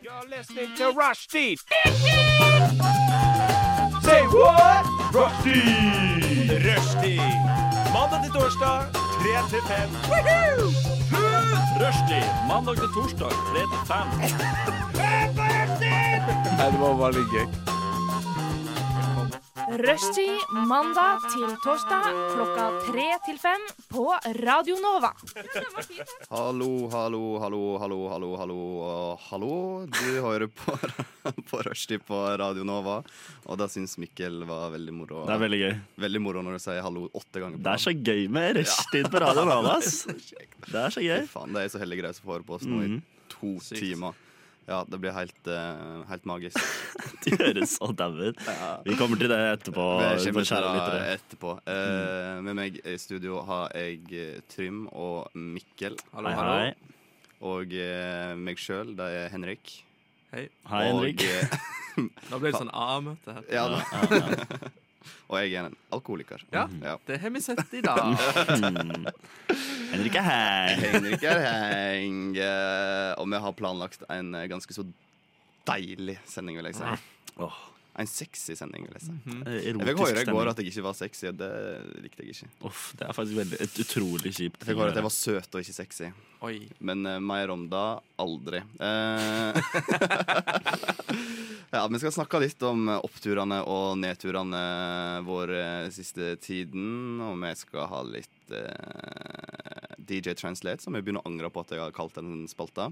You're listening to Rushdie. Say what? Rushdie. Rushdie. Mandag til torsdag, 3 til 5. Rushdie. Mandag til torsdag, 3 til 5. Rushtid mandag til torsdag klokka tre til fem på Radio Nova. Hallo, hallo, hallo, hallo, hallo, hallo og hallo. Du hører på, på Rushdie på Radio Nova, og da syns Mikkel var veldig moro. Det er veldig gøy. Veldig moro når du sier hallo åtte ganger. på Det er så gøy med rushtid på Radio Nova. ass. rad. Kjekt. Det er så gøy. Fy faen, det er så heldige greier som får på oss nå Mhm. i to timer. Ja, det blir helt, eh, helt magisk. De høres så daue ut. Vi kommer til det etterpå. Vi kommer på til Kjære det lyttere. etterpå. Eh, med meg i studio har jeg eh, Trym og Mikkel. Hei, hei. Og eh, meg sjøl, det er Henrik. Hei. Hei, Henrik. Og, eh, Da ble det sånn A-møte her. ja, Ja, da. ja, ja. og jeg er en alkoholiker. Ja. Det har vi sett i dag. Hmm. Henrik er her. Henrik er heng. eh, Og vi har planlagt en eh, ganske så deilig sending, vil jeg si. Åh, En sexy sending, vil jeg si. Mhm. Mm. Jeg fikk erotisk høre i går stemning. at jeg ikke var sexy, og det likte jeg ikke. Uff, det er faktisk veldig, et utrolig kjipt. Jeg fikk høre at jeg var søt og ikke sexy. Oi. Men eh, mer om det aldri. Eh, ja, vi skal snakke litt om oppturene og nedturene vår eh, siste tiden. Og vi skal ha litt eh, DJ Translate, som jeg begynner å angre på at jeg har kalt den spalta.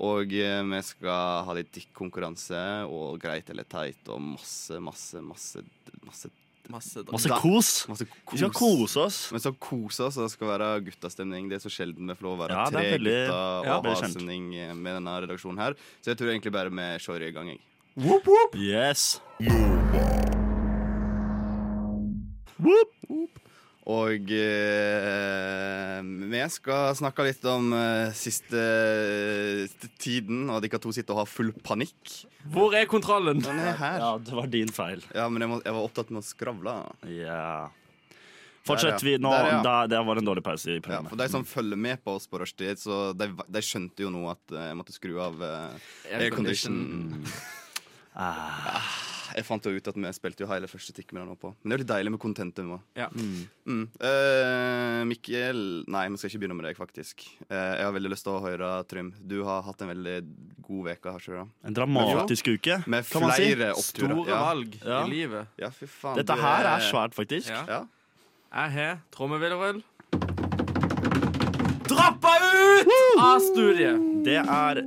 Og eh, vi skal ha litt dikkkonkurranse og greit eller teit og masse, masse, masse, masse, Masse dårlig. Masse kos. masse Vi skal kose oss. men så kose oss, og det skal være guttastemning. Det er så sjelden vi får lov å være Ja, det tre er veldig- gutter ja, og veldig ha sjelden. sending med denne redaksjonen her. Så jeg tror egentlig bare vi kjører i gang, jeg. Yes. Og eh, vi skal snakke litt om eh, siste eh, tiden, og dere to sitter og har full panikk. Hvor er kontrollen? Den er her. Ja, det var din feil. Ja, men jeg, må, jeg var opptatt med å skravle. Ja. Fortsett. Der, Vi, ja. nå, Der, ja. da, det var en dårlig pause i Ja, programmet. for De som følger med på oss på rushtid, så de, de skjønte jo nå at eh, jeg måtte skru av eh, aircondition. Mm. Ah, Jeg fant jo ut at vi spilte jo hele første tikk med den oppå. Men det er jo litt deilig med contentum òg. Ja. Mm. Eh, Mikkel Nei, vi skal ikke begynne med deg, faktisk. Eh, jeg har veldig lyst til å høre, Trym. Du har hatt en veldig god uke, har ikke du det? en dramatisk uke, Med kan man si. flere oppturer. Store Ja. valg Ja. i livet. ja, fy faen. Dette du her er svært, faktisk. Ja. Ja. Jeg har trommevirvel. Droppa ut av studiet! Det er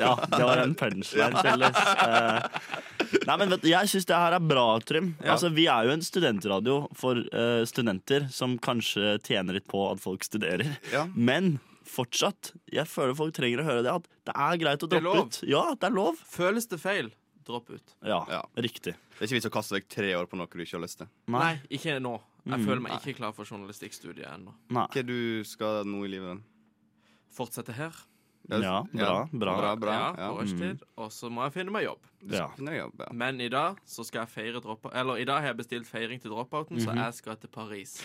Ja, det var en punchline til oss. Eh, Nei, men vet du, Jeg syns det her er bra, Trym. Ja. Altså, Vi er jo en studentradio for eh, studenter som kanskje tjener litt på at folk studerer. Ja. Men fortsatt, jeg føler folk trenger å høre det. At det er greit å Det er droppe lov. ut. Ja, det er lov. Føles det feil? Dropp ut. Ja, Ja. Riktig. Det er ikke vits å kaste vekk tre år på noe du ikke har lyst til. Nei. Nei, ikke nå. Jeg føler meg ikke klar for journalistikkstudiet ennå. Nei. Hva er du skal nå i livet? Fortsette her. Ja, bra, bra. Bra, bra. ja, Ja. på rushtid. Og så må jeg finne meg jobb. Ja. Finner jeg jobb, ja. Men i dag så skal jeg feire droppa... Eller i dag har jeg bestilt feiring til dropouten, så jeg skal til Paris.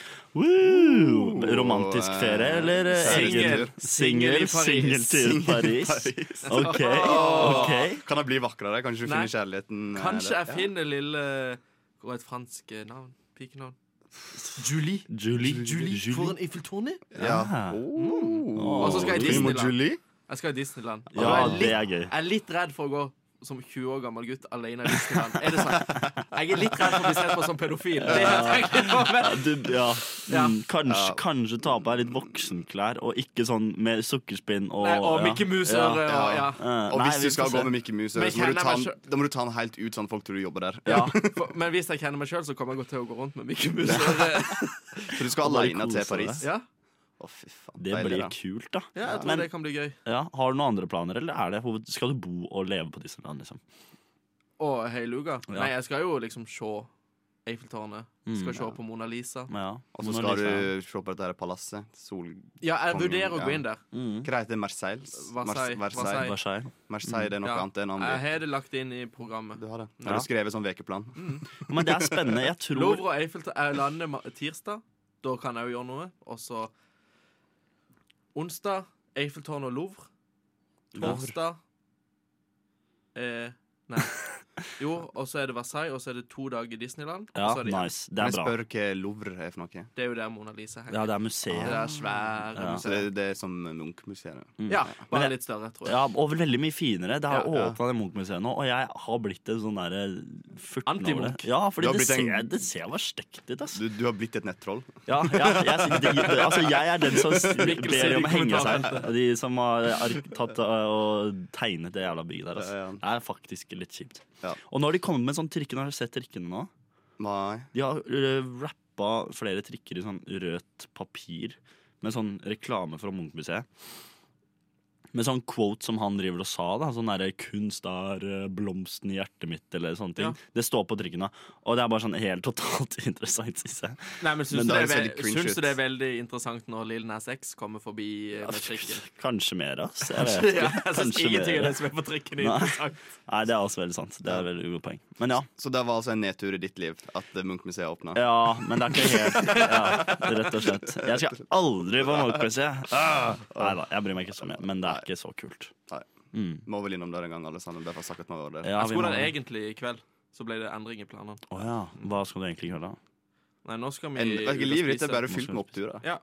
Woo! Romantisk eh, ferie, eller? eh, singel. egen- Singel Singel i Paris. singeltur i Paris. OK. ok Kan det bli vakrere? Kanskje du Nei. finner kjærligheten? eh, Kanskje jeg der? finner lille Hva er et fransk eh, navn? Pikenavn? Julie. Julie. For en Eiffeltårn. Ja. Ja. Oh. Og så skal jeg Trym og Disneyland. Julie? Jeg skal i Disneyland. Og Ja, da er jeg, det litt, er gøy. jeg er litt redd for å gå som 20 år gammel gutt alene i Disneyland. Er det sant? Jeg er litt redd for å bli sett på som pedofil. Det har jeg tenkt på, men Du, ja. Ja. Mm, kanskje, Ja. kanskje ta på deg litt voksenklær, og ikke sånn med sukkerspinn og Nei, og ja. Mikke Muser Ja. og ja. Eh, Og nei, hvis vi du skal får se. gå med Mickey Mouse, Men så må du, kjenner ta meg den, da må du ta den helt ut sånn folk tror du jobber der. Ja. For, men hvis jeg kjenner meg sjøl, så kommer jeg godt til å gå rundt med Mikke Muser. eh, Så du skal Og bare aleine til kose Paris? Ja, Å, fy faen. Det deilig, blir da. kult, da. ja jeg tror Men det kan bli gøy. ja, har du noen andre planer, eller er det hoved... skal du bo og leve på Disneyland? liksom? Og Heiluga. Ja. Nei, jeg skal jo liksom se Eiffeltårnet. Skal Mm. se på Mona Lisa. Ja. liksom- Og så skal du se på dette her palasset. Sol... Ja, jeg Kongen, vurderer å gå ja. inn der. mm. Hva heter det? Marseilles? Versailles. Mars- Versailles. Versailles. Marseille det er noe Ja. annet enn Jeg andre. har det lagt inn i programmet. Du har det. Ja. Har du skrevet sånn ukeplan? Men det er spennende. Jeg tror Louvre og Eiffeltårn Jeg lander ma- tirsdag. Da kan jeg jo gjøre noe. Og så onsdag Eiffeltårn og Louvre. Torsdag Eh, nei. Jo, og så er det Versailles, og så er det to dager i Disneyland. og Ja, så er det, nice. Det Jeg er bra. spør hva Louvre er for noe. det er jo der Mona Lisa henger. Ja, det er det museet. der svære Ja. Så museet. det, det er som Munch-museet. Ja, Men bare det- litt større, tror jeg. Ja, og veldig mye finere. Det har Ja, jo ja. åpna det Munch-museet nå, og jeg har blitt en sånn derre furten over det. Anti-Munch. Ja, Du fordi har det blitt en- ser, det ser bare stekt ut, ass. Du, du har blitt et nettroll. Ja, ja jeg, sier- det, det, altså, jeg er den som s- ber om å henge seg. De som har ark- tatt uh, og tegnet det jævla bygget der. Altså. Ja, ja. Det er faktisk litt kjipt. Ja. Og nå har de kommet med sånn trikken. Har du sett trikkene nå? Nei. De har uh, rappa flere trikker i sånn rødt papir med sånn reklame fra Munch-museet. Med sånn quote som han driver og sa, da. Sånn derre 'Kunst er uh, blomsten i hjertet mitt', eller sånne ting. Ja. Det står på trikken, da. Og det er bare sånn helt totalt interessant, syns jeg. Nei, men Men syns, da du, ser det er det ve- cringe syns ut. du det er veldig interessant når Lill Nas X kommer forbi eh, med trikken? Kanskje mer, ass. Jeg vet ikke. Ja, jeg syns Kanskje ingenting av mer. det som er på trikken, er Nei. interessant. Nei, det er også veldig sant. Det er veldig godt poeng. Men ja. Så det var altså en nedtur i ditt liv at eh, Munch-museet åpna? Ja, men det er ikke helt ja, Rett og slett. Jeg skal aldri på Munch-museet. Nei da, jeg bryr meg ikke så mye. Men det er ikke så kult. Nei. Mm. Må vel innom der en gang, alle sammen. Derfor har jeg sagt at man var der. Ja, Jeg vi skulle må- den egentlig i kveld. Så ble det endring i planene. Å ja. Hva skal du egentlig gjøre da? Nei, nå skal vi En, ut og ikke, livet ditt spise. er bare fylt med oppturer. Ja.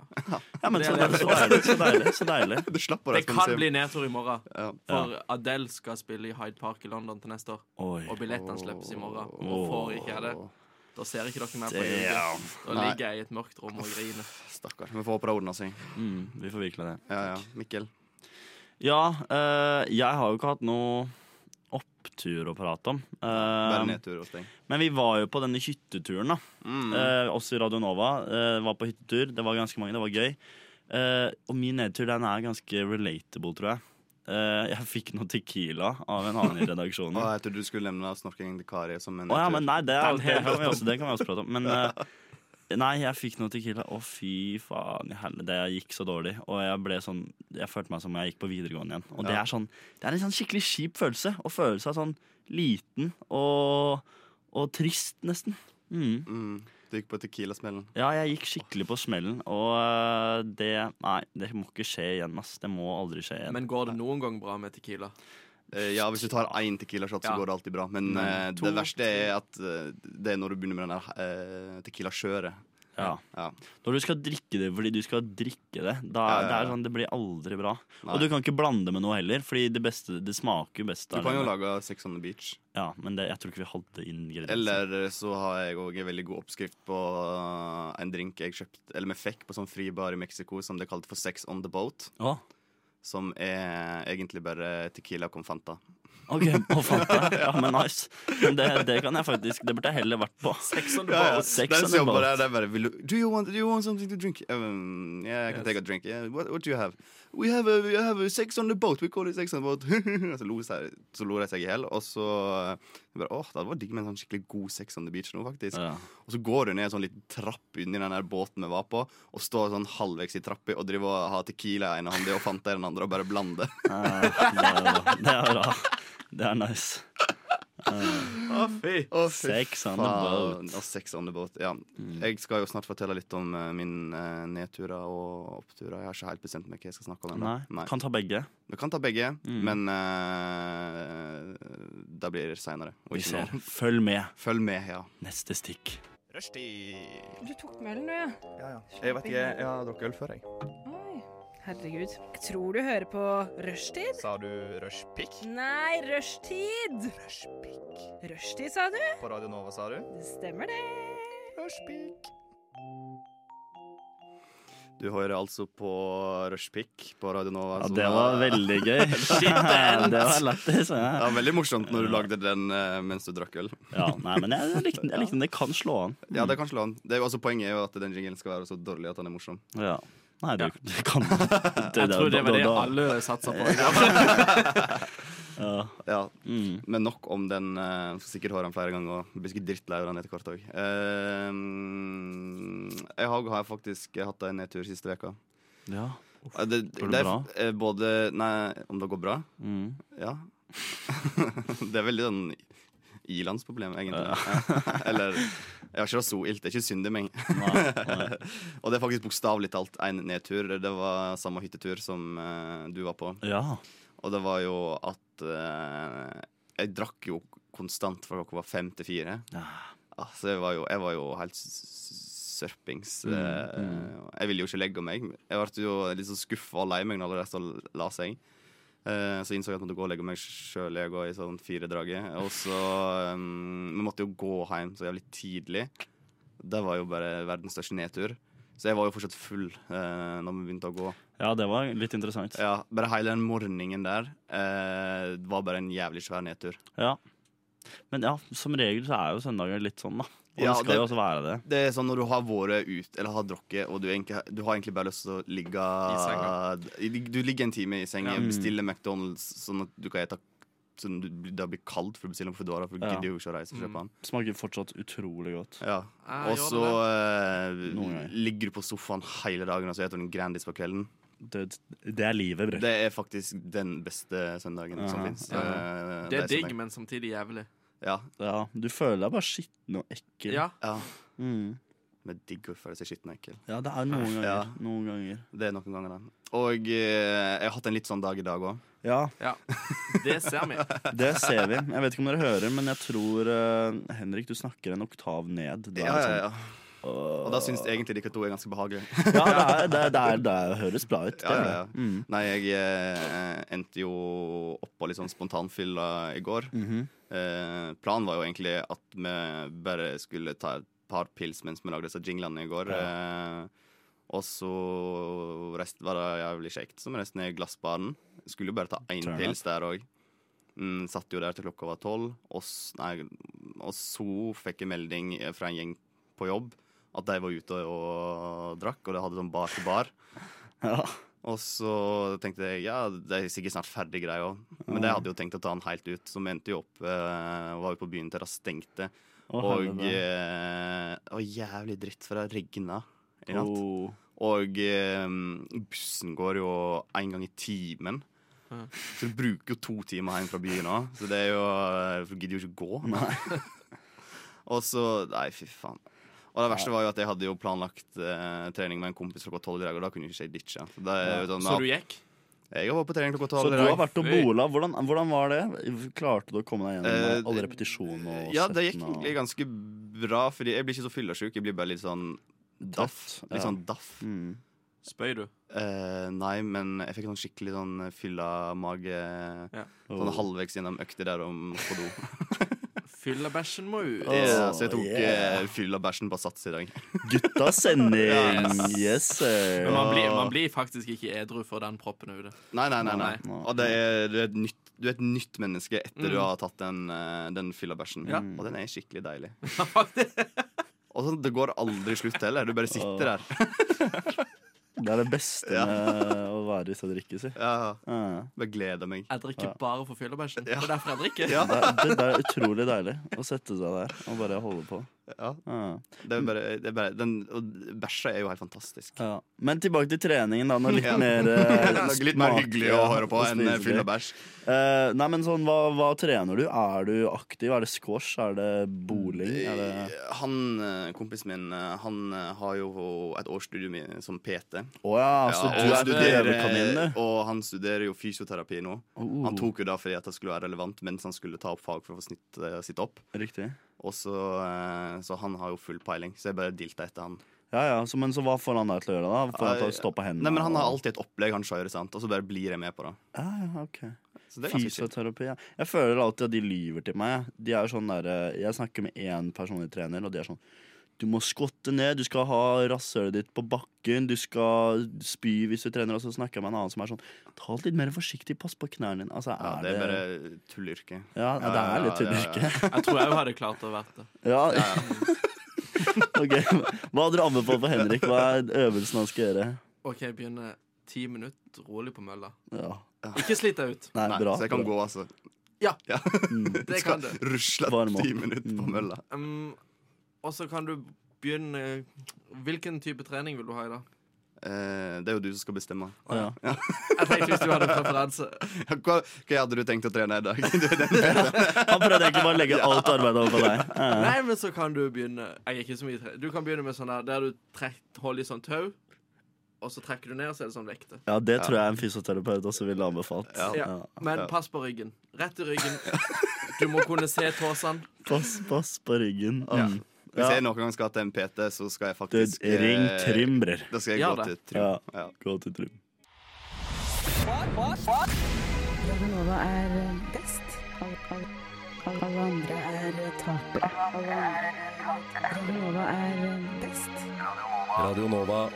Ja, men Det så, er så deilig, så deilig. Så deilig. Du slapp av Det deg, skal kan du si. bli nedtur i morgen, Ja. for Adele skal spille i Hyde Park i London til neste år. Oi. Og billettene slippes i morgen. Og får ikke jeg det, da ser ikke dere mer på det. Damn. Da Nei. ligger jeg i et mørkt rom og griner. Stakkar. Vi får håpe det ordner seg. Mm, vi får virkelig det. Ja, ja. Mikkel. Um, Ja, eh, jeg har jo ikke hatt noe opptur å prate om. Eh, Bare nedtur hos deg. men vi var jo på denne hytteturen, da. Mm. Eh, oss i Radio Nova eh, var på hyttetur. Det var ganske mange, det var gøy. Eh, og min nedtur den er ganske relatable, tror jeg. Eh, jeg fikk noe Tequila av en annen i redaksjonen. Å, Å jeg trodde du skulle nevne snorking til Kari som en ja, men nedtur. nei, det, er, det, kan vi også, det kan vi også prate om. Men eh, nei, jeg fikk noe Tequila. Å, fy faen i helvete. Det gikk så dårlig. Og jeg ble sånn Jeg følte meg som om jeg gikk på videregående igjen. Og det Ja. er sånn Det er en sånn skikkelig kjip følelse. Å føle seg sånn liten og, og trist, nesten. Mm. Mm. Du gikk på Tequila-smellen. Ja, jeg gikk skikkelig på smellen, og øh, det Nei, det må ikke skje igjen, ass. Det må aldri skje igjen. Men går det noen gang bra med Tequila? Eh, ja, hvis du tar én Tequila-shot, så Ja. går det alltid bra. Men Men eh, to, det verste er at eh, det er når du begynner med den der eh, Tequila-skjøret. ja. Ja. Når du skal drikke det fordi du skal drikke det, da Ja, ja, ja. Det, er sånn, det blir aldri bra. Nei. Og du kan ikke blande det med noe heller, Fordi det, beste, det smaker jo best Du kan jo alene. lage Sex on the Beach. Ja, Men det, jeg tror ikke vi hadde ingredienser. Eller så har jeg òg en veldig god oppskrift på eh, en drink jeg kjøpt Eller vi fikk på sånn fri bar i Mexico som det er kalt for Sex on the Boat. Å, Som er egentlig bare Tequila con Fanta. OK. Å, fant jeg. Ja, men nice. Men det, det kan jeg faktisk Det burde jeg heller vært på. Sex on the Ja, ja. boat. Sex Den on the som jobber boat. der, det er bare vil du, do, you want, do you want something to drink? Um, yeah, I can Yes. take a drink. Yeah, what, what do you have? We have, a, we have a sex on the boat. We call it sex on the boat. Og så, lo seg, så lo de seg i hjel. Og så eh, bare, åh, det hadde vært digg med en sånn skikkelig god sex on the beach nå, faktisk. Ja. Og så går hun ned en sånn liten trapp inni den der båten vi var på, og står sånn halvveis i trappa og driver og har tequila i ene hånda og Fanta i den andre og bare blander. Eh, det er bra. Det er bra. Det er nice. Fy. Å, fy Sex on the faen. boat. Mm. Og sex on the boat, ja. Jeg skal jo snart fortelle litt om eh, min eh, nedturer og oppturer. Jeg har ikke helt bestemt meg hva jeg skal snakke om. ennå. Nei. Kan ta begge. Du kan ta begge, Mm. men uh, det blir seinere. Vi ser. Følg med. Følg med, ja. Neste stikk. Rushtid. Du tok melen, du. ja. Jeg vet ikke, jeg har drukket øl før, jeg. Oi. Herregud. Jeg tror du hører på rushtid. Sa du rushpick? Nei, rushtid. Rushpick. Rushtid, sa du? På Radio Nova, sa du? Det stemmer det. Rushpick. Du hører altså på Rushpick på Radio Nova. Ja, som det er- var veldig gøy. det var lættis. Det Ja. var veldig morsomt når du lagde den eh, mens du drakk øl. ja, nei, men jeg likte, den. jeg likte den. Det kan slå an. Ja, det kan slå an. Det er jo altså Poenget er jo at den jinglen skal være så dårlig at den er morsom. Ja. Nei, det, det kan det, Jeg tror det var det da- alle satsa på. Ja. Ja, Mm. Men nok om den. eh, skal sikkert høre den flere ganger. og Blir sikkert drittlei av den etter hvert òg. jeg har, har faktisk hatt en nedtur siste veka ja. Eh, Det, Går det er bra? f- eh, både Nei, om det går bra? Mm. Ja. det er veldig sånn ilandsproblem, egentlig. Eller jeg har ikke det så ilt. Det er ikke synd i meg. Nei, nei. Og det er faktisk bokstavelig talt en nedtur. Det var samme hyttetur som eh, du var på. Ja. Og det var jo at eh, jeg drakk jo konstant fra klokka var fem til fire. Altså, jeg var jo, jeg var jo helt s- s- sørpings. Mm, eh, mm. Jeg ville jo ikke legge meg. Jeg ble jo litt sånn skuffa og lei meg når de reiste og la seg. Eh, Så innså jeg at jeg måtte gå og legge meg sjøl jeg òg, i sånn firedraget. Og så um, Vi måtte jo gå hjem så jævlig tidlig. Det var jo bare verdens største nedtur. Så jeg var jo fortsatt full eh, når vi begynte å gå. Ja, det var litt interessant. Ja. Ja, Bare hele den morgenen der eh, var bare en jævlig svær nedtur. Men ja, som regel så er jo søndager litt sånn, da. Og Ja, det skal det- jo også være det. Det er sånn Når du har vært ute eller har drukket, og du, egentlig, du har egentlig bare lyst til å ligge Du ligger en time i senga, Ja. bestiller McDonald's sånn at du kan ete sånn du, Det blir kaldt for du bestiller den på Foodora, for du Ja. gidder jo ikke å reise og kjøpe den. Smaker fortsatt utrolig godt. Ja. Ah, Ja, Og gjør så eh, Noen ganger. ligger du på sofaen hele dagen og så spiser du en Grandis på kvelden. Det, det er livet, bror. Det er faktisk den beste søndagen som Eh, Ja. fins. Ja. sånn Det er digg, men samtidig jævlig. Ja. Ja, du føler deg bare skitten og ekkel. Ja, ja. Mm. Men digg å føle seg skitten og ekkel. ja det er noen ganger. Ja. Noen ganger. Det er noen ganger, det. Og eh, jeg har hatt en litt sånn dag i dag òg. Ja, ja. Det ser vi. Sånn det ser vi. Jeg vet ikke om dere hører, men jeg tror eh, Henrik, du snakker en oktav ned. Det er Ja, ja, sånn- ja. Og da syns jeg egentlig dere to er ganske behagelige. Ja, det, er, det, er, det, er, det er, høres bra ut. det Ja, ja, er ja. det. Mm. Nei, jeg eh, endte jo opp på litt sånn spontanfylla i går. Mhm. Eh, planen var jo egentlig at vi bare skulle ta et par pils mens vi lagde disse jinglene i går. Eh, og så rest var det jævlig kjekt, så vi reiste ned i glassbaren. Skulle jo bare ta én Turn up. pils der òg. Mm, satt jo der til klokka var tolv. Og, s- nei, og så fikk jeg melding fra en gjeng på jobb at de var ute og drakk, og de hadde sånn bar til bar. Ja. Og så tenkte jeg ja, det er sikkert snart ferdig greia òg. Men det hadde jo tenkt å ta den helt ut, så vi endte jo opp eh, og var jo på byen til det stengte. Å, og helvete. eh, det var jævlig dritt, for det regna i natt. Åh. Og eh, bussen går jo én gang i timen. Ja. Så du bruker jo to timer hjem fra byen òg, så det er jo For du gidder jo ikke gå. Nei. Og så Nei, fy faen. Og det verste var jo at jeg hadde jo planlagt eh, trening med en kompis klokka tolv i dag, og da kunne jo ikke jeg ditche. Så det er jo sånn, Så du gikk? jeg var på trening klokka Så tolv du i har dag. vært og bola. Hvordan, hvordan var det? Klarte du å komme deg gjennom Eh, alle repetisjonene? og Ja, det gikk settene egentlig ganske bra, fordi jeg blir ikke så fyllesyk. Jeg blir bare litt sånn daff. Trøtt, Litt ja. sånn daff. og... mm. Spøy du? Eh, nei, men jeg fikk sånn skikkelig sånn fylla mage Sånn Åh. halvvegs gjennom økta der om på do. Fylla bæsjen må ut. Åh, Eh, så jeg tok yeah. eh, fylla bæsjen på sats i dag. Gutta sending! Yes. Yes, sir. Men man blir, man blir faktisk ikke edru før den proppen er ute. Nei, nei, nei. nei. Nei, nei. Og det er, du, er et nytt, du er et nytt menneske etter Mm. du har tatt den, eh, den fylla bæsjen. Ja. Og den er skikkelig deilig. Faktisk. Og sånn, det går aldri slutt heller. Du bare sitter der. Det er det beste Ja. med å være ute og drikke, si. Ja, Ja. bare gleder meg. Jeg drikker bare for fylla bæsjen. Det er derfor jeg drikker. Ja. Det, er- det, det er utrolig deilig å sette seg der og bare holde på. Ja. Ja. Det er bare, det er bare den, Og bæsja er jo helt fantastisk. Ja. Men tilbake til treningen, da. Noe litt Ja. mer Det eh, er litt mer smak- hyggelig å ja, høre på og enn spiselig. fyll og bæsj. Eh, nei, men sånn, hva, hva trener du? Er du aktiv? Er det squash? Er det bowling? Er det Han eh, kompisen min, eh, han eh, har jo et årsstudium i- som PT. Å ja, Ja, så Altså, du og er prøvekaninen, du. og han studerer jo fysioterapi nå. Oh. Han tok jo da fordi at det skulle være relevant mens han skulle ta opp fag for å få snitt, eh, sitt opp. Riktig. Og så, eh, så han har jo full peiling, så jeg bare dilta etter han. Ja, ja, så, Men så hva får han deg til å gjøre, da? Får han til å stå på hendene? Nei, men Han har og- alltid et opplegg han kjører, sant? og så bare blir jeg med på det. ja, ja, ok. Så det er ganske chill. Fysioterapi, ja. Jeg føler alltid at de lyver til meg. jeg. De er sånn der, eh, jeg snakker med én personlig trener, og de er sånn Du må skotte ned, du skal ha rasshølet ditt på bakken, du skal spy hvis du trener, og så snakker jeg med en annen som er sånn Ta det litt mer forsiktig, pass på knærne dine. Altså, Ja, er det er det bare tullyrke. Ja, Ja, det er ja, litt ja, ja, tullyrke. Jeg tror jeg hadde klart å vært det. Ja, Ok, Hva hadde du anbefalt for Henrik? Hva er øvelsen han skal gjøre? OK, jeg begynner ti minutter rolig på mølla. Ja. Ikke slit deg ut. Nei, Nei, bra. så jeg kan bra. gå, altså. Ja. Mm. Det kan Skal du. rusle Varm opp. ti minutter på Mm. mølla. Um, og så kan du begynne Hvilken type trening vil du ha i dag? Eh, det er jo du som skal bestemme. Ja. Jeg tenkte hvis du hadde preferanse. Ja, Hva, hva hadde du tenkt å trene i dag? Du er den- Han prøvde egentlig bare å legge alt arbeidet over på deg. Ja. Nei, men så kan du begynne Jeg er ikke så mye tre Du kan begynne med sånn der der du trekk, holder i sånn tau, og så trekker du ned, og så er det sånn vekte. Ja, det tror jeg en fysioterapeut også ville anbefalt. Ja. Ja. Men Ja. pass på ryggen. Rett i ryggen. Du må kunne se tåsene. Pass, pass på ryggen. Ja. Mm. Hvis Ja. jeg noen gang skal til en PT, så skal jeg Du, faktisk eh, ring Trym, bror. Da skal jeg Gjør gå til det. Trym. Ja. Ja. Gå til Trym. Nova er eh, best. Alle, alle, alle, alle andre er eh, tapere. Alle andre er tapere. Nova er eh, best. Mm. Radio Nova.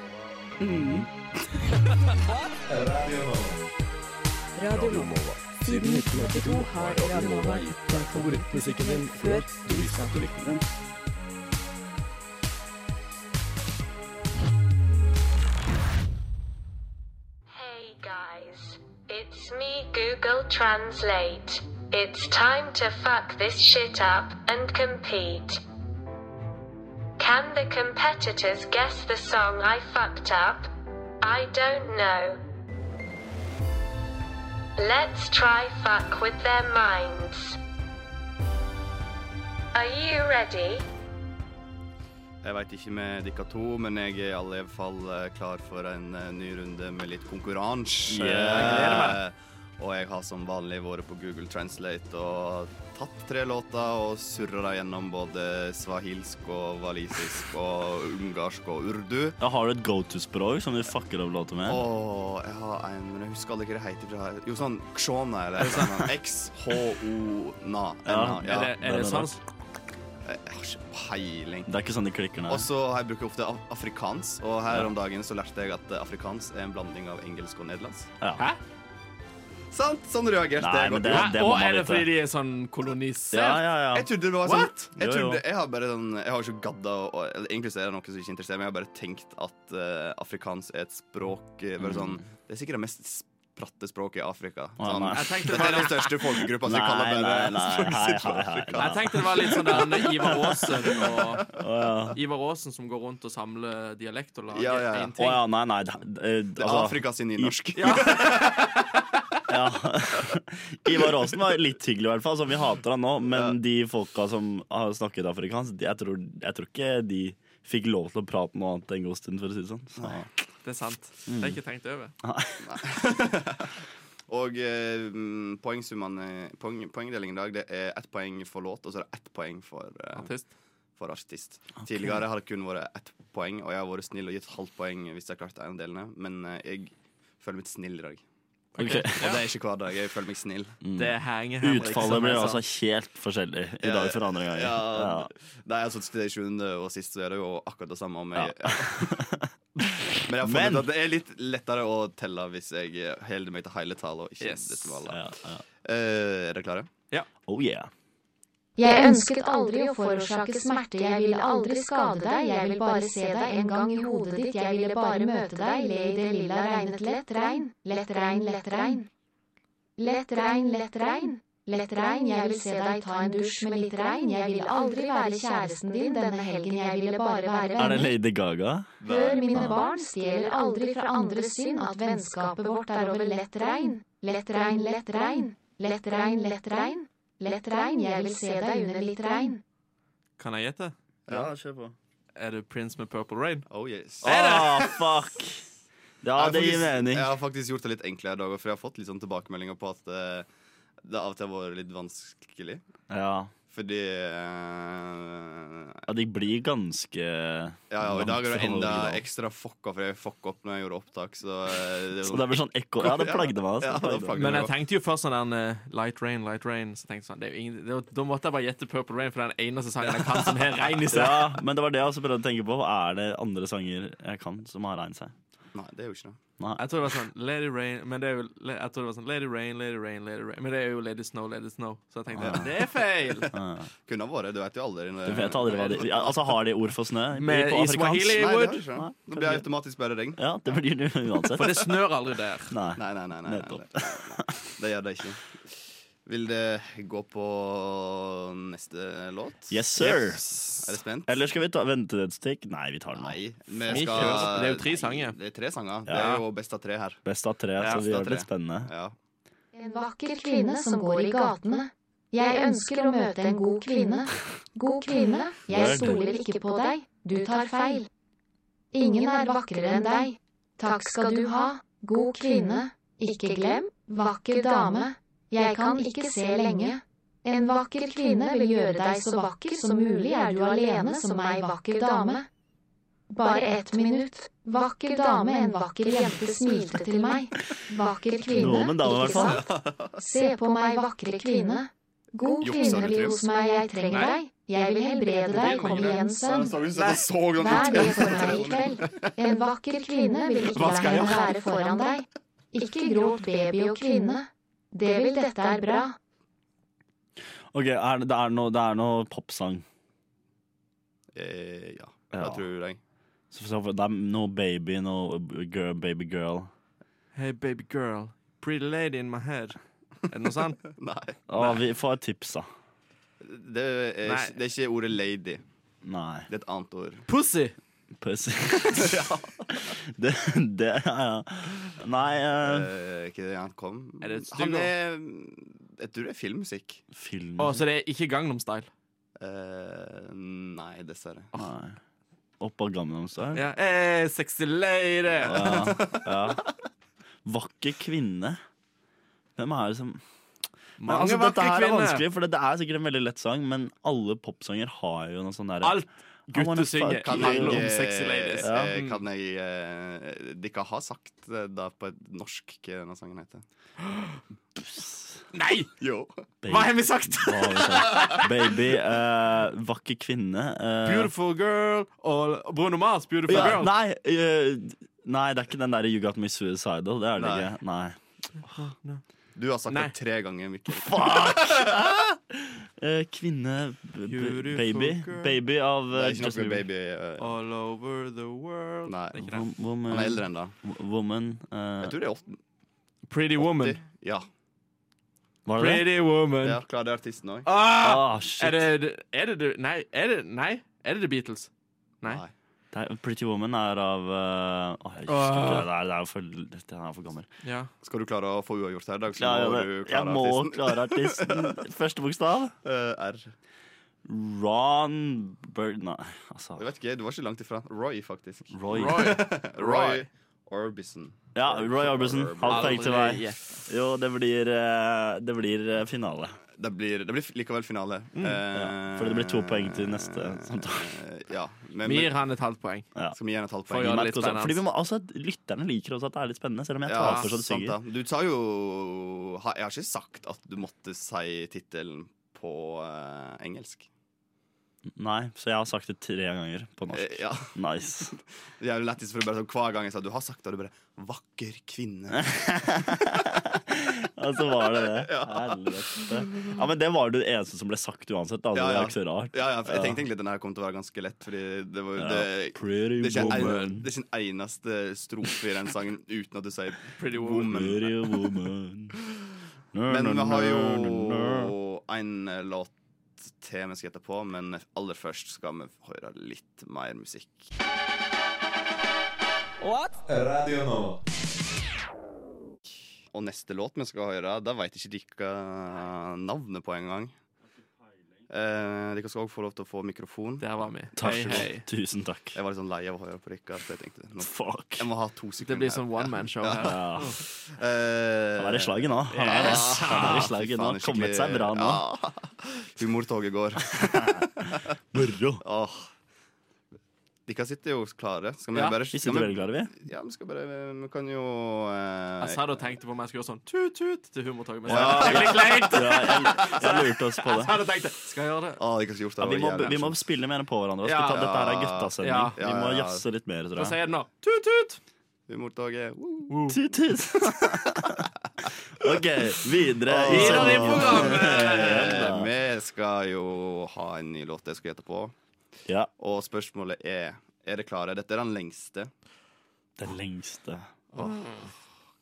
Radio Nova. Siden 1982 har Radio Nova gitt deg favorittmusikken din før du visste at du likte den. Hey guys, it's me Google Translate. It's time to fuck this shit up and compete. Can the competitors guess the song I fucked up? I don't know. Let's try fuck with their minds. Are you ready? Jeg veit ikke med dere to, men jeg er i alle fall eh, klar for en eh, ny runde med litt konkurranse. Yeah. Eh, Og jeg har som vanlig vært på Google Translate og tatt tre låter og surra dem gjennom både swahilsk og walisisk og ungarsk og urdu. Da har du et go-to-språk som vi fucker opp låter med. Åh, jeg har en, men jeg husker aldri hva det heter fra Jo, sånn Kshona eller noe sånt. X-H-O-N-A. Ja, Ja. Er det, er det sans? Jeg har ikke peiling. Det er ikke sånn de klikker, nei. Og så har jeg bruker jeg ofte af- afrikans, og her om dagen så lærte jeg at eh, afrikans er en blanding av engelsk og nederlandsk. Ja. Sant? Sånn reagerte Nei, jeg. men godt det- på. det må Og man er det vite. fordi de er sånn kolonisert? Ja, ja, ja. Jeg trodde det var sånn What? Jeg, Jo, jo. trodde, jeg har bare sånn Jeg har ikke gadda å- å- eller Egentlig så er det noe som ikke interesserer meg. Jeg har bare tenkt at eh, afrikans er et språk eh, Bare sånn Det er sikkert det mest spratte språket i Afrika. Mm. Å, Sånn, nei. Jeg tenkte det Dette var er den største folkegruppa som Nei, kaller nei, bare nei, språket hei, sitt for hei, hei. Afrika. Jeg tenkte det var litt sånn der Ivar Aasen og Å, ja. Ivar Aasen som går rundt og samler dialekt og lager Ja, ja, ja. en Å ting. ja, nei, nei. det- eh, Det er altså- Afrika sin nynorsk. Ja. Ivar Aasen var litt hyggelig, i hvert fall. Som vi hater han nå. Men de folka som har snakket afrikansk, de, jeg, tror, jeg tror ikke de fikk lov til å prate noe annet en god stund, for å si det sånn. Så. Det er sant. Det Mm. har jeg ikke tenkt over. Og eh, mm, poengsummene poeng, Poengdelingen i dag Det er ett poeng for låt, og så er det ett poeng for, eh, Artist. for artist. Tidligere har det kun vært ett poeng, og jeg har vært snill og gitt halvt poeng hvis jeg har klart en av delene, men eh, jeg føler meg snill i dag. Ok. Og det er ikke hver dag. Jeg føler meg snill. Det henger Henrik, som Mm. sånn, Utfallet blir jeg sa. altså helt forskjellig i dag fra andre ganger. Ja, Ja. Nei, altså til det sjuende og sist så er det jo akkurat det samme om jeg ja. Men jeg har Men- funnet at det er litt lettere å telle hvis jeg holder meg til hele tallet og ikke Yes. desimaler. Ja, ja. Eh, er dere klare? Oh yeah. Jeg ønsket aldri å forårsake smerte, jeg ville aldri skade deg, jeg vil bare se deg en gang i hodet ditt, jeg ville bare møte deg, le i det lilla regnet, lett regn, lett regn, lett regn. Lett regn, lett regn, lett regn, jeg vil se deg ta en dusj med litt regn, jeg vil aldri være kjæresten din denne helgen, jeg ville bare være Er det venner. Lady Gaga? Hør mine barn, stjeler aldri fra andres synd at vennskapet vårt er over lett regn. Lett regn, lett regn. Lett regn, lett regn. Lett regn, jeg vil se deg under litt regn. Kan jeg gjette? Ja, kjør på. Er det Prince med Purple Rain? Oh yes. Ah, fuck! Ja, Jeg har det gir faktisk- mening. Jeg har faktisk gjort det litt enklere i dag, for jeg har fått litt sånn tilbakemeldinger på at eh, det av og til har vært litt vanskelig. Ja. Fordi eh, ja, de blir ganske Ja, ja, og i dag er det enda vanskelig. ekstra fucka, for jeg fucka opp når jeg gjorde opptak, så eh, det Så det blir sånn ekko. Ja, det plagde meg. Altså. Ja, det plagde Men jeg meg. tenkte jo først sånn der eh, Light Rain, Light Rain. Så tenkte jeg sånn, det er jo ingen, det, er jo- da måtte jeg bare gjette Purple Rain, for det er den eneste sangen jeg kan som liksom." har regn i seg. Ja, men det var det jeg også prøvde å tenke på. Er det andre sanger jeg kan som har regn seg? Nei, det er jo ikke noe. Nei. Jeg tror det var sånn Lady Rain Men det er jo le- Jeg tror det var sånn Lady Rain, Lady Rain, Lady Rain Men det er jo Lady Snow, Lady Snow Så jeg tenkte Det er feil Kunne ha vært. Du vet jo aldri. når- Du vet aldri hva de ja, Altså, har de ord for snø? Med På i afrikansk? swahili? Nei, det har jeg Nei, ikke. Det blir automatisk bare regn. Ja, det blir det uansett. For det snør aldri der Nei. Nei, nei, nei. nei, nei, nei, Nettopp. nei. Det gjør det ikke. Vil det gå på neste låt? Yes, sir. Er dere spent? Eller skal vi ta vente et stikk? Nei, vi tar den nå. Nei, Vi vi kjører. skal Det er jo tre sanger. Det er tre sanger. Det Ja. er jo best av tre her. Best av tre, Ja, så vi best av gjør det litt tre. spennende. Ja. En vakker kvinne som går i gatene. Jeg ønsker å møte en god kvinne. God kvinne, jeg stoler ikke på deg. Du tar feil. Ingen er vakrere enn deg. Takk skal du ha, god kvinne. Ikke glem, vakker dame. Jeg kan ikke se lenge. En vakker kvinne vil gjøre deg så vakker som mulig. Er du alene som meg, vakker dame? Bare ett minutt. Vakker dame, en vakker jente smilte til meg. Vakker Noe kvinne, om en dame, i hvert fall. Se på meg, vakre kvinne. God Juks, kvinne har du bli trives? hos meg, jeg trenger deg. Jeg vil helbrede deg, kom igjen, sønn. Så har vi sett og så den Vær ut. med for meg i kveld. En vakker kvinne vil ikke la henne være foran deg. Ikke gråt, baby og kvinne. Det vil dette er bra. Ok, er, det- det er noe, det er noe popsang. Eh, ja, Ja. hva tror jeg. Så, så, det er noe baby, noe girl, baby girl. Hey, baby girl. Pretty lady in my head. Er det noe sånt? Nei. Å, vi får et tips, da. Det er, Nei. det er ikke ordet lady. Nei. Det er et annet ord. Pussy! Pussy. det, det ja. Nei, eh, Eh, ikke det han kom Er det et stygg Han er Jeg tror det er filmmusikk. film Å, så det er ikke Gangnam Style? Eh, nei, dessverre. Nei. Opp av Gangnam Style. Ja. Hey, sexy lady! Ja, ja. Vakker kvinne. Hvem er det som Nei, Mange altså, Dette vakre her er kvinner. vanskelig, for det, det er sikkert en veldig lett sang, men alle popsanger har jo noe sånn derre Alt I wanna gutter synger, fuck Kan you. handler jeg, om eh, sexy ladies. eh, Mm. Kan jeg eh, Dere har sagt eh, da på et norsk hva denne sangen heter? Nei! Jo. Baby, Hva har vi sagt? hva har vi sagt? Baby, eh, vakker kvinne eh, Beautiful girl og Bruno Mars, Beautiful ja, Girl. Nei, eh, nei, det er ikke den derre You Got Me Suicidal. Det er det Nei. ikke. Nei. Du har sagt Nei. det tre ganger, Mikkel. Eh, kvinne b- b- Beautiful Baby. girl. Baby av Det eh, er ikke Justin noe Bieber. baby eh, All over the world. Nei. Det er ikke det. Wo- Woman. Han er eldre enn da. wo- Woman. eh, Jeg tror det er 80. Pretty woman. Ja. var det det? Pretty woman. ja klar, det er artisten òg. Ah! Ah, shit. Er det, er det, det- nei, er det, nei, er det The Beatles? Nei. Nei. Det er, Pretty Woman er av eh, åh, jeg husker ikke det, det er, det er jo for, dette er for gammel. Ja. Skal du klare å få uavgjort her i dag, så Ja, ja, må det- du jeg klare må artisten. klare artisten. Første bokstav. Eh, R. Ron Bird... Nei, altså Jeg vet ikke, Du var ikke langt ifra. Roy, faktisk. Eh, Roy. Roy. Roy Orbison. Ja, Roy Arbison. Han Aldri poeng til meg. gjett. Jo, det blir, eh, det blir eh, finale. Det blir, det blir likevel finale. Mm. ja, fordi det blir to poeng til neste samtale. Eh, Ja, men, Vi gir men han et halvt poeng. skal vi gi henne et halvt Får gjøre poeng? det litt spennende. Fordi vi må, altså, Lytterne liker også at det er litt spennende, selv om jeg Ja, taper så det sant da. synger. Du sa jo ha- Jeg har ikke sagt at du måtte si tittelen på eh, engelsk. Nei, Så jeg har sagt det tre ganger på norsk. Eh, ja. Nice. Det er jo lettest for å bare sånn hver gang jeg sa du har sagt det, og du bare 'Vakker kvinne'. Og så var det det. Helvete. Ja, Men det var det eneste som ble sagt uansett. Da. så Ja, Det ja. var ikke så rart. Ja, ja, for jeg tenkte egentlig at den her kom til å være ganske lett, fordi det var det, Pretty det er ikke en, woman. det er ikke en eneste strofe i den sangen uten at du sier Pretty woman. woman. Pretty woman. Men vi har jo en låt til vi skal gjette på, men aller først skal vi høre litt mer musikk. Radio Nova. Og neste låt vi skal høre, da veit ikke dere navnet på engang. Eh, dere skal òg få lov til å få mikrofon. Der var vi. Takk. Hei, hei. Tusen takk. Jeg var litt sånn lei av å høre på dere, så jeg tenkte nå, Fuck. jeg må Mm. ha to Det sekunder. blir sånn one man show her. Ja. Eh, sånn- Han er i slaget nå. Han er, ass. han er i slaget nå. faen, det er Kommet seg skikkelig- bra nå. Ja. Humortoget går. Moro. Åh. Dere sitter jo klare. Skal vi Ja, bare Vi sitter veldig klare, vi. Ja, vi skal bare Vi kan jo Jeg eh, satt og tenkte på om jeg skulle gjøre sånn tut-tut til humortoget. Men Ja. så- Det blir kleint. Ja, jeg, jeg lurte oss på Jeg det. satt og tenkte Skal jeg gjøre det? Å, dere skulle gjort det. Ja, vi, må, jævlig vi må morsomt. spille mer på hverandre. Ja. Skal vi ta, dette her er Ja. guttasending. Vi Ja, må ja, ja. jazze litt mer, Hva tror jeg. sier den nå? Tut-tut! Humortoget. woo. Tut, tut. OK, videre i Videre i sendingen. programmet! Vi skal jo ha en ny låt jeg skal gjette på. Ja, Og spørsmålet er Er dere klare. Dette er den lengste. den lengste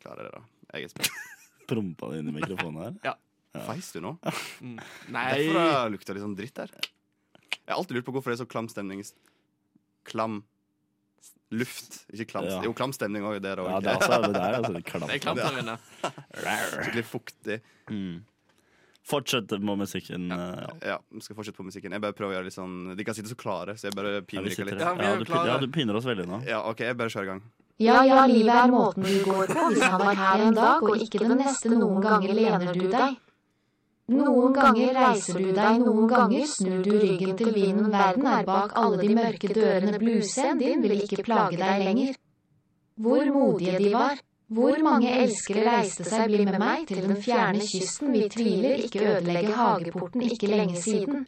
Klarer dere det? Jeg er spent. prompa di inni mikrofonen her. Feis du nå? Derfor Nei. har det lukta litt sånn dritt der. Jeg har alltid lurt på hvorfor det er så klam stemning. Klam s- luft. Ikke klam Ja. Jo, klam stemning òg. Det er det Ja, òg. det er altså, det er altså litt Det er klamt. klamt her inne. Skikkelig fuktig. Mm. Fortsett med musikken. eh, ja. Ja, vi skal fortsette på musikken. Jeg bare prøver å gjøre litt sånn De kan sitte så klare, så jeg bare Ja, piner vi dere sitter litt. her. Ja, vi er Ja, du, pin- klare. ja, du piner oss veldig nå. Ja, OK, jeg bare kjører i gang. Ja ja, livet er måten du går på hvis han er her en dag og ikke den neste. Noen ganger lener du deg. Noen ganger reiser du deg, noen ganger snur du ryggen til vinden. Verden er bak alle de mørke dørene. Bluesen din vil ikke plage deg lenger. Hvor modige de var. Hvor mange elskere reiste seg, bli med meg til den fjerne kysten. Vi tviler, ikke ødelegge hageporten, ikke lenge siden.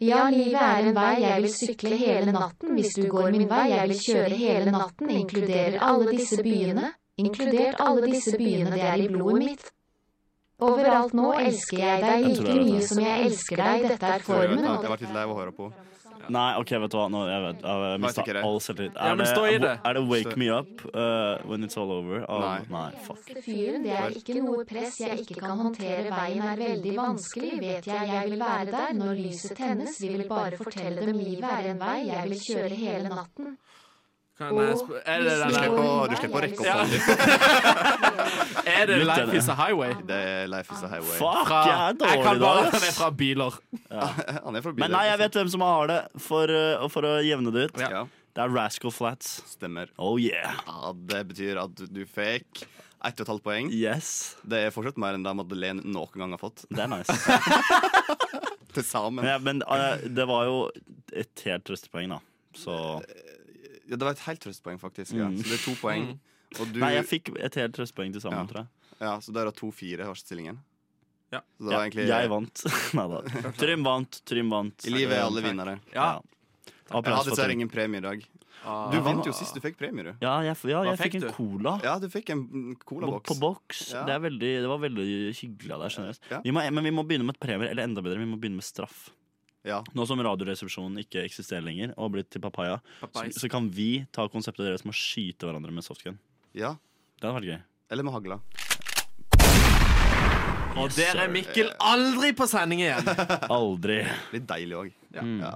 Ja, livet er en vei, jeg vil sykle hele natten hvis du går min vei, jeg vil kjøre hele natten, inkluderer alle disse byene, inkludert alle disse byene, det er i blodet mitt. Overalt nå elsker jeg deg Jeg tror like jeg vet mye det. som jeg elsker deg, dette er Jeg formen. har og- vært litt lei av å høre på. Nei, OK, vet du hva. Nå, jeg vet, jeg, jeg mista ikke det. all selvtillit. Ja, Er, men stå i det. er det Wake Stå- Me Up uh, When It's All Over? av- Nei. nei, fuck. Eneste fyren, det er ikke noe press jeg ikke kan håndtere, veien er veldig vanskelig, vet jeg, jeg vil være der når lyset tennes, vi vil bare fortelle dem livet er en vei, jeg vil kjøre hele natten. Kan jeg sp- Er det Du den slipper der- å- du slipper å rekke opp hånden din. Er det Lytterne. Life is a Highway? Det er Life is a highway. Fuck, Fra, jeg er jeg dårlig kan i bare dag. den er ass. fra biler. Han er fra Men nei, jeg vet hvem som har det, for, uh, for å jevne det ut. Ja. Ja, Det er Rascal Flats. stemmer. Oh yeah. Ja, det betyr at du- du fikk ett og et halvt poeng. Yes. Det er fortsatt mer enn det Madeleine noen gang har fått. Det er nice. Til sammen. Men, ja, men eh, det var jo et helt trøstepoeng, da. Så Ja, det var et helt trøstpoeng, faktisk. Ja. Så det er to poeng. Mm. Og du, Mm. Nei, jeg fikk et helt trøstepoeng til sammen, Ja. tror jeg. ja, så der er to-fire stillingen. Ja. Så det var Ja, egentlig Jeg vant. Nei da. Trym vant, Trym vant. I livet er alle vinnere. Ja. Jeg hadde Applaus for dessverre Trym. ingen premie i dag. Ah. Du vant jo sist du fikk premie, du. Ja, jeg, f- ja, Hva jeg fikk fikk en du? cola. Ja, du fikk en mm, På, colaboks. på boks. Ja. Det, er veldig, det var veldig hyggelig av deg. generelt Ja. vi må, Men vi må begynne med et premier, eller enda bedre, vi må begynne med straff. Ja. Nå som Radioresepsjonen ikke eksisterer lenger, og har blitt til papaya, så, Papais. så kan vi ta konseptet deres med å skyte hverandre med softgun. ja. Det hadde vært gøy. Eller med hagla. Og der er Mikkel aldri på sending igjen! Aldri. Litt deilig òg. Mm. Ja.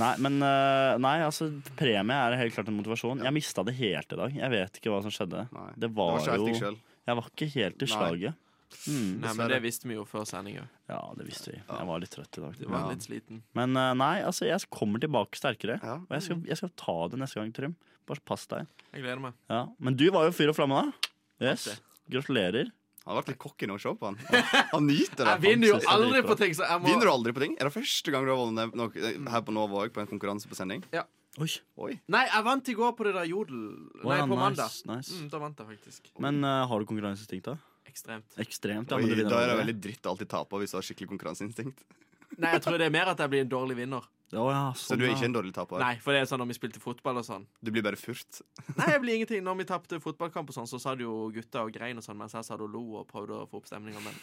Nei, men eh, nei, altså, premie er helt klart en motivasjon. Jeg mista det helt i dag. Jeg vet ikke hva som skjedde. Nei. Det Det var, var så helt deg jo sjøl. Jeg var ikke helt i Nei. slaget. Hmm. Nei, men Det visste vi jo før sendinga. Ja, det visste vi. Jeg var litt trøtt i dag. Du var litt sliten. Men eh, nei, altså, jeg kommer tilbake sterkere. Ja. Og jeg skal, jeg skal ta det neste gang, Trym. Bare pass deg. Jeg gleder meg. Ja. Men du var jo fyr og flamme, da. Yes. Gratulerer. Han har vært litt cocky nå, se på han. Han, han nyter det. Jeg vinner jo synes jeg det aldri gikk på bra. ting, så jeg må Vinner du aldri på ting? Er det første gang du har vunnet noe her på Nova òg, på en konkurranse på sending? Oi. Oi. Nei, jeg vant i går på det der Jodel. Nei, på ja, nice, mandag. nice. Mm, da vant jeg faktisk. Men eh, har du konkurranseinstinkt, da? Ekstremt. Ekstremt. Ja, Oi, men du vinner da er det aldri. veldig dritt å alltid tape hvis du har skikkelig konkurranseinstinkt. Nei, jeg tror det er mer at jeg blir en dårlig vinner. Å, ja, sånn, Så du er ja. ikke en dårlig taper. Nei, for det er sånn når vi spilte fotball og sånn. Du blir bare furt. Nei, jeg blir ingenting. Når vi tapte fotballkamp og sånn, så sa det jo gutta og grein og sånn, mens jeg satt og lo og prøvde å få opp stemninga, men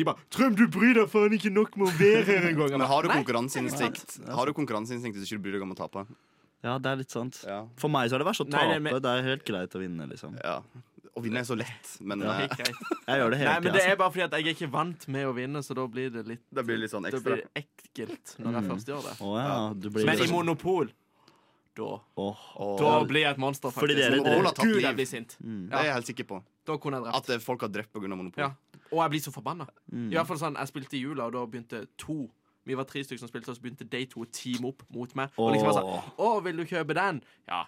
De bare 'Trym, du bryr deg faen ikke nok med å være her engang'. Men har du Nei. konkurranseinstinkt Har du konkurranseinstinkt hvis du ikke bryr deg om å tape? Ja, det er litt sant. Ja. For meg så er det verst å Nei, tape. det det, er er me- helt greit å vinne, liksom. ja. Å vinne er så lett, men Ja. eh, Helt greit. Jeg gjør det hele Nei, men tiden, det altså. er bare fordi at jeg er ikke vant med å vinne, så da blir det litt det blir litt sånn Da ekstra. blir det ekkelt når jeg først gjør Mm. det. liksom- Å ja, du blir sånn- Men i Monopol da, Åh. da blir jeg et monster, faktisk. Fordi dere- Monopol har dere- tatt Gud, jeg blir sint. Det er jeg helt sikker på. Da kunne jeg drept. At eh, folk har drept pga. monopol. Ja. Og jeg blir så forbanna. Mm. I hvert fall sånn, jeg spilte i jula, og da begynte to. Vi var tre stykker som spilte, og så begynte de to å teame opp mot meg. Og liksom bare sånn, å, vil du kjøpe den? Ja.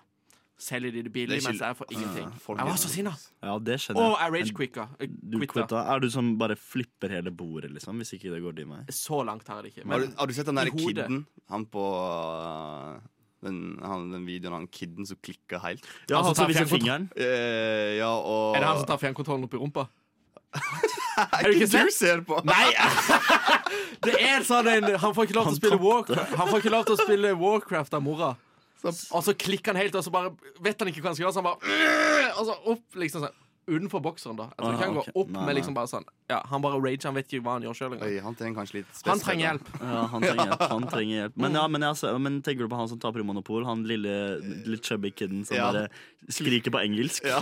Selger de det billig, Det er ikke- mens Ah, jeg får ingenting. folk- jeg var så sinna. Ja, det skjønner Og jeg. jeg rage-quicka. eh, Du Quitta. quitta. Er du som bare flipper hele bordet, liksom? Hvis ikke det går din vei? Så langt har jeg det ikke. Har, Men du, har du sett den derre i hodet. kidden? Han på eh, den, han, den videoen av han kidden som klikka helt? Ja, han som altså, tar hvis jeg fjernkontroll. fingeren Eh, ja, og er det han som tar fjernkontrollen opp i rumpa? Har du ikke Hva sett? du ser på? Nei! Det er sånn en Han får ikke lov til å spille Warcraft Han får ikke lov til å spille Warcraft av mora. Og så klikker han helt, og så bare vet han ikke hva han skal gjøre. Så han bare Og så opp liksom sånn Utenfor bokseren, da. Altså, Jeg tror ikke Ah, han ok. går opp Nei, med nei. liksom bare sånn Ja, Han bare rager, han vet ikke hva han gjør sjøl Oi, engang. han trenger kanskje litt Han spesielt, trenger da. hjelp. Ja, han trenger hjelp. Han trenger hjelp. Men, ja, men, jeg, ser- men tenker du på han som taper i Monopol? Han lille, litt chubby kiden som Ja. bare skriker på engelsk? Ja.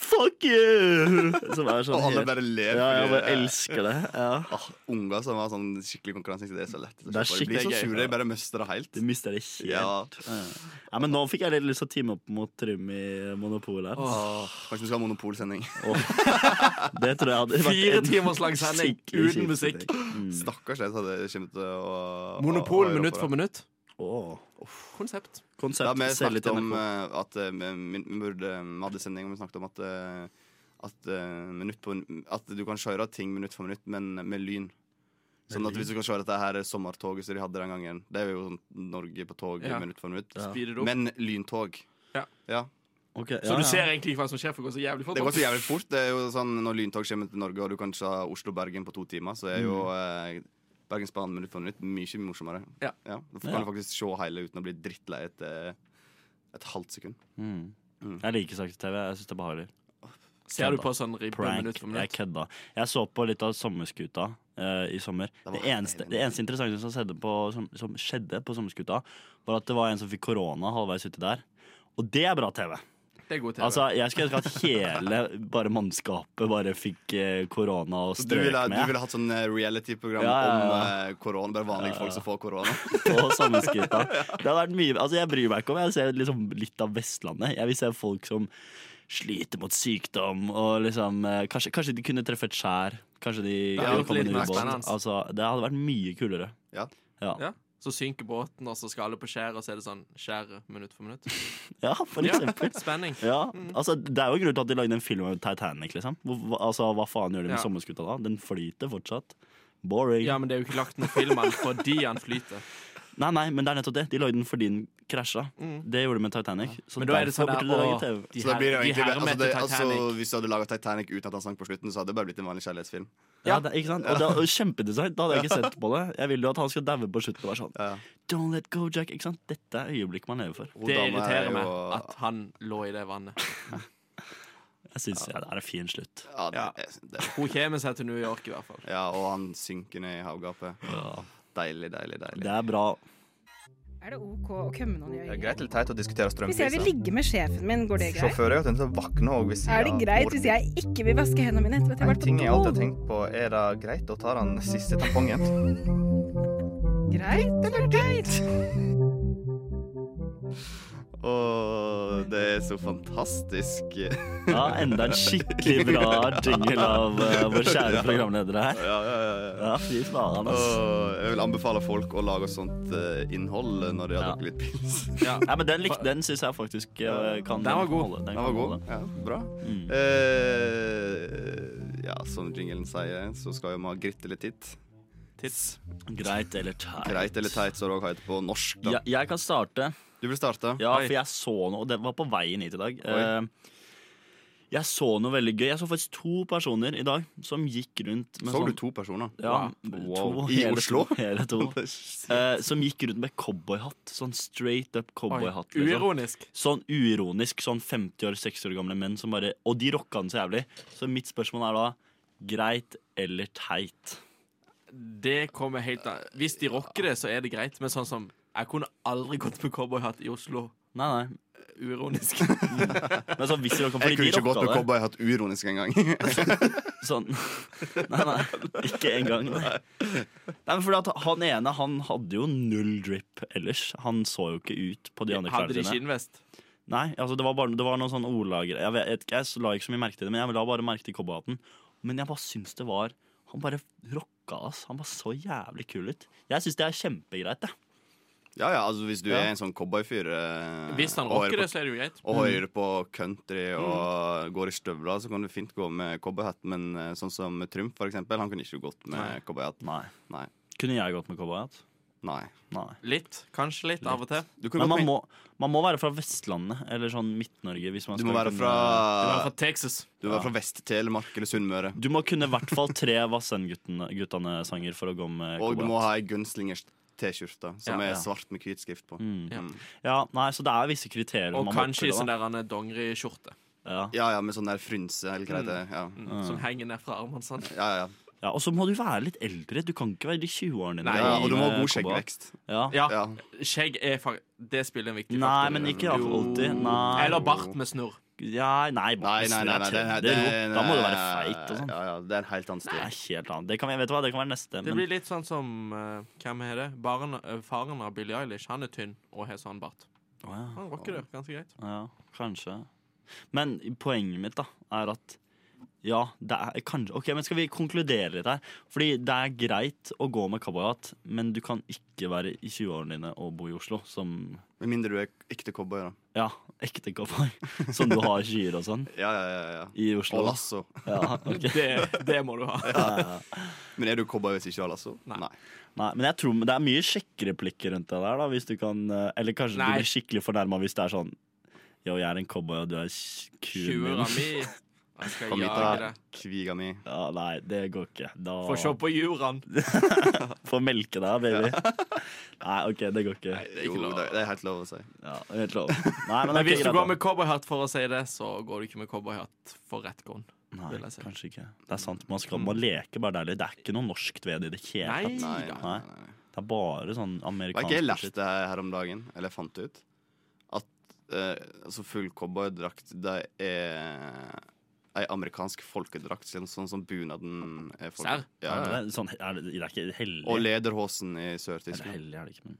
Fuck you! Som er sånn Og alle helt- bare ler. Ja, jeg fordi- bare elsker det. Ja. Ah, unger som har sånn skikkelig konkurranseinstinkt, det er så lett. Det er de blir skikkelig så gøy. sure, de bare mister det helt. Du mister det helt. Ja. Ja, men nå fikk jeg litt lyst til å teame opp mot Trym i Monopol her. Kanskje vi skal ha monopolsending. Mm. Det tror jeg hadde vært Fire en timers lang sending skikkelig uten kjip Mm. musikk. sending. Stakkars jeg som hadde kommet til å å- å Monopol høre minutt på for det. minutt. Åh. Konsept. Konsept. Da vi selg litt snakket om NRK. eh, at eh, vi vi burde Vi hadde sending og vi snakket om at eh, at, eh, minutt på, at du kan kjøre ting minutt for minutt, men med lyn. Sånn at lyn? hvis du kan kjøre dette her sommertoget som de hadde den gangen Det er jo sånn Norge på tog Ja. minutt for minutt. Ja. Speeder opp. Men lyntog. Ja. Ok, ja, Så du ja. ser egentlig hva som skjer, for det går så jævlig fort. Det går så jævlig fort. Det er jo sånn Når lyntog kommer til Norge, og du kan ta Oslo-Bergen på to timer, så er jo Mm. eh, Bergensbanen minutt for minutt mye morsommere. Ja. Da kan Ja. du faktisk se hele uten å bli drittlei etter et halvt sekund. Mm. Mm. Jeg liker sakte TV. Jeg syns det er behagelig. Ser du på sånn ribbe Prank. minutt for Jeg minutt? kødda. Jeg så på litt av Sommerskuta eh, i sommer. Det Det var eneste, helt det eneste interessante som skjedde, på, som, som skjedde på Sommerskuta, var at det var en som fikk korona halvveis uti der. Og det er bra TV. Det er god TV. Altså, Jeg skulle ønske at hele bare mannskapet bare fikk eh, korona og Så du ville, strøk du ville med hatt sånn eh, reality-program Ja, ja, ja. om eh, korona? Bare vanlige folk som får korona? på Sommerskuta. Det hadde vært mye Altså, Jeg bryr meg ikke om Jeg ser liksom litt av Vestlandet. Jeg vil se folk som sliter mot sykdom, og liksom eh, Kanskje, kanskje de kunne treffe et skjær. Kanskje de hadde kunne vært komme litt ned i mer båt. spennende. Altså, det hadde vært mye kulere. Ja. Ja. Ja. Så synker båten, og så skal alle på skjæret, og så er det sånn skjæret minutt for minutt. Ja, for Ja, Mm. eksempel. Spenning. Ja, altså Det er jo en grunn til at de lagde en film om Titanic. liksom Hvor, hva- altså, Hva faen gjør de med Ja. sommerskuta da? Den flyter fortsatt. Boring. Ja, men det er jo ikke lagt noen film av den fordi han flyter. Nei, nei, men det er nettopp det. De lagde den fordi den krasja. Det gjorde de med Titanic. Så Mm. Men da er det derfor sånn der, burde de lage å, TV. de Så da blir det jo her- de egentlig hermet altså, det, til altså, Titanic. Hvis du hadde laga Titanic uten at han sang på slutten, så hadde det bare blitt en vanlig kjærlighetsfilm. Ja, det, ikke sant? Og det er kjempeinteressant. Da hadde jeg ikke sett på det. Jeg vil jo at han skal daue på slutten og være sånn Ja. Don't let go, Jack. Ikke sant? Dette er øyeblikket man lever for. Hun Det dama er irriterer meg jo- at han lå i det vannet. Jeg synes, ja, Det er en fin slutt. ja, det, Ja. er- det, Hun kommer seg til New York, i hvert fall. ja, Og han synker ned i havgapet. Deilig, deilig, deilig. Det er bra. Er det OK å kømme noen i Det er øyet? greit eller teit å diskutere Hvis jeg vil strømpriser. ligge med sjefen min, går det greit? Sjåfører er jo tenkt å våkne òg hvis Er det greit hvis jeg ikke vil vaske hendene mine etter at jeg En har vært ting jeg på alltid har tenkt på, er det greit å ta den siste tampongen? Greit eller teit? Åh, det er så fantastisk. Ja, Enda en skikkelig bra jingle av eh, vår kjære programledere her. Ja, ja, ja, ja. Ja, fy faen, ass. Åh, jeg vil anbefale folk å lage sånt eh, innhold når de har Ja. drukket litt pils. Ja. Nei, men Den likte den syns jeg faktisk eh, kan Den var god. holde. Den Den kan var god. holde. Ja, bra. Mm. Eh, ja, som jinglen sier, så skal jo vi ha gritt eller titt. Tits. Greit eller teit. Greit eller teit, så det også heter på norsk. Da. Ja, jeg kan starte. Du vil starte? Ja, Oi. for jeg så noe, og det var på veien hit i dag. Oi. Eh, jeg så noe veldig gøy. Jeg så faktisk to personer i dag som gikk rundt med Så sånn du to personer? Ja, Wow. to, I hele Oslo? To, hele to. Det er s- Eh, som gikk rundt med cowboyhatt. Sånn straight up cowboyhatt. Liksom. Uironisk. Sånn uironisk, sånn 50 år, 60 år gamle menn som bare Og de rocka den så jævlig. Så mitt spørsmål er da greit eller teit? Det kommer helt an. Hvis de rocker det, så er det greit. Men sånn som Jeg kunne aldri gått med cowboyhatt i Oslo. Nei, nei. Uironisk. Men sånn, hvis de Jeg rocka, fordi kunne de ikke gått rocka med det. cowboyhatt uironisk engang. Sånn. Nei, nei, ikke engang. Nei. Nei, men fordi at han ene han hadde jo null drip ellers. Han så jo ikke ut på de andre Hadde de klærne sine. skinnvest? Nei, altså det var, bare, det var noen sånne ordlager. Jeg, vet, ikke, jeg la ikke så mye merke til det, men jeg la bare merke til cowboyhatten. Men jeg bare syns det var Han bare rocka, ass. Han var så jævlig kul ut. Jeg syns det er kjempegreit, jeg. ja, ja, altså Hvis du Ja. er en sånn cowboyfyr eh, Hvis han og hører rocker det, på- så er det jo greit. og Mm. hører på country og går i støvler, så kan du fint gå med cowboyhatt. Men eh, sånn som Trump, for eksempel, han kunne ikke gått med cowboyhatt. Nei. Nei. Kunne jeg gått med cowboyhatt? Nei. Nei. Litt. Kanskje litt, av og til. Du, kunne gått Men man med- må, man må være fra Vestlandet eller sånn Midt-Norge. hvis man du skal må være kunne- Det var fra, fra Texas. du må være fra Vest-Telemark eller Sunnmøre. Du må kunne i hvert fall tre Vassendguttene-sanger for å gå med Og du cowboyhatt. må ha ei gunslingers T-skjorte som Ja, er ja. svart med hvit skrift på. Mm. Ja. Ja, nei, så det er visse kriterier Og man må kanskje i oppfylle, sånn da. der han er dongeriskjorte. Ja. Ja ja, med sånn der frynse eller hva det heter. Ja. Mm. Som henger ned fra armene sånn. Ja, ja, ja. ja, Og så må du være litt eldre. Du kan ikke være i 20-årene dine. Nei, ja, og du må ha med god cowboy. skjeggvekst. Ja. Ja, Ja. skjegg er fa Det spiller en viktig Nei, faktor. men ikke Jo. alltid. Nei. Eller bart med snurr. ja, nei, Nei, nei, nei, nei, det, det- det, det- Da må du være feit og sånn. Ja, ja, det er en helt annen Det stil. er helt annet. Det kan, vi- vet du hva, det kan være neste. Det Men blir litt sånn som eh, Hvem er det? Barn, eh, faren av Billie Eilish. Han er tynn og har sånn bart. Å, Han rocker det ganske greit. ja. ja, kanskje. Men poenget mitt da er at Ja, det er kanskje Ok, men skal vi konkludere litt her? Fordi det er greit å gå med cowboyhatt, men du kan ikke være i 20-årene dine og bo i Oslo som Med mindre du er ekte cowboy, da. Ja, ekte cowboy. Som du har skyer og sånn. Ja, ja, ja, ja. I Oslo. Og lasso. Ja, ok. Det, det må du ha. Ja, ja. Men er du cowboy hvis du ikke har lasso? Nei. Nei, men jeg tror men det er mye sjekkereplikker rundt det der, da, hvis du kan eh, Eller kanskje Nei. du blir skikkelig fornærma hvis det er sånn Yo, jeg er en cowboy, og du er s- kuen min. Tjura mi. Jeg skal Kom hit, jage da. deg. Kviga mi. Ja, nei, det går ikke. Da Få se på juraen. Få melke deg, baby. Nei, OK, det går ikke. er ikke Jo, lov. det det er helt lov å si. Ja, helt lov. Nei, men det Men er hvis ikke du greit. går da. med cowboyhatt for å si det, så går du ikke med cowboyhatt for rett grunn. Nei, vil jeg si. kanskje ikke. Det er sant. Man skal man leker bare deilig. Det er ikke noe norskt ved det i det hele Nei tatt. Nei, da. nei, nei. nei. Det er bare sånn Var ikke jeg amerikansk lærte her om dagen, eller fant ut, at eh, altså full cowboydrakt, det er ei amerikansk folkedrakt, sånn, sånn som bunaden er folk- Serr? Ja, Det ja. er, sånn, er det, det er ikke hellig. Og lederhosen i Eller Sør-Tyskland. hellig er det ikke, men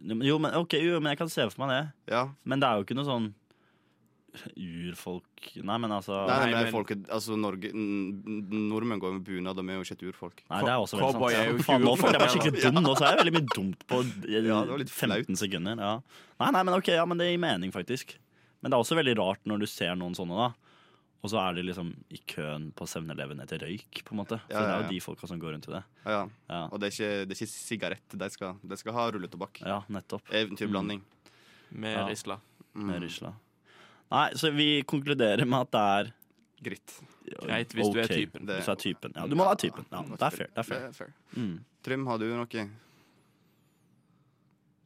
Jo, men- Jo, men, ok, jo, men jeg kan se for meg det. Ja. Men det er jo ikke noe sånn urfolk Nei, men altså Nei, nei, men Nei, det er men- folket, altså Norge, n- n- Nordmenn går jo med bunad, og vi er jo ikke et urfolk. Nei, det er også veldig sant. Cowboy er jo Faen, nå kul. følte jeg meg skikkelig dum. Nå sa jeg veldig mye dumt på Ja, det var litt flaut. 15 sekunder. Ja. Nei, nei, men ok, ja, men det gir mening, faktisk. Men det er også veldig rart når du ser noen sånne, da. Og så er de liksom i køen på 7-Eleven etter røyk, på en måte. For Ja, ja, det er ja. jo de folka som går rundt i det. Ja, ja. Ja, Og det er ikke, det er ikke sigarett de skal De skal ha rulletobakk. ja nettopp. Eventyrblanding. Mm. Med Ja. risla. Med Rysla. Nei, så vi konkluderer med at det er Gritt. Greit, hvis du er ok. typen. Det- Hvis du er typen. Ja, du må være typen. Ja, det er fair. Det er fair. Mm. Trym, har du noe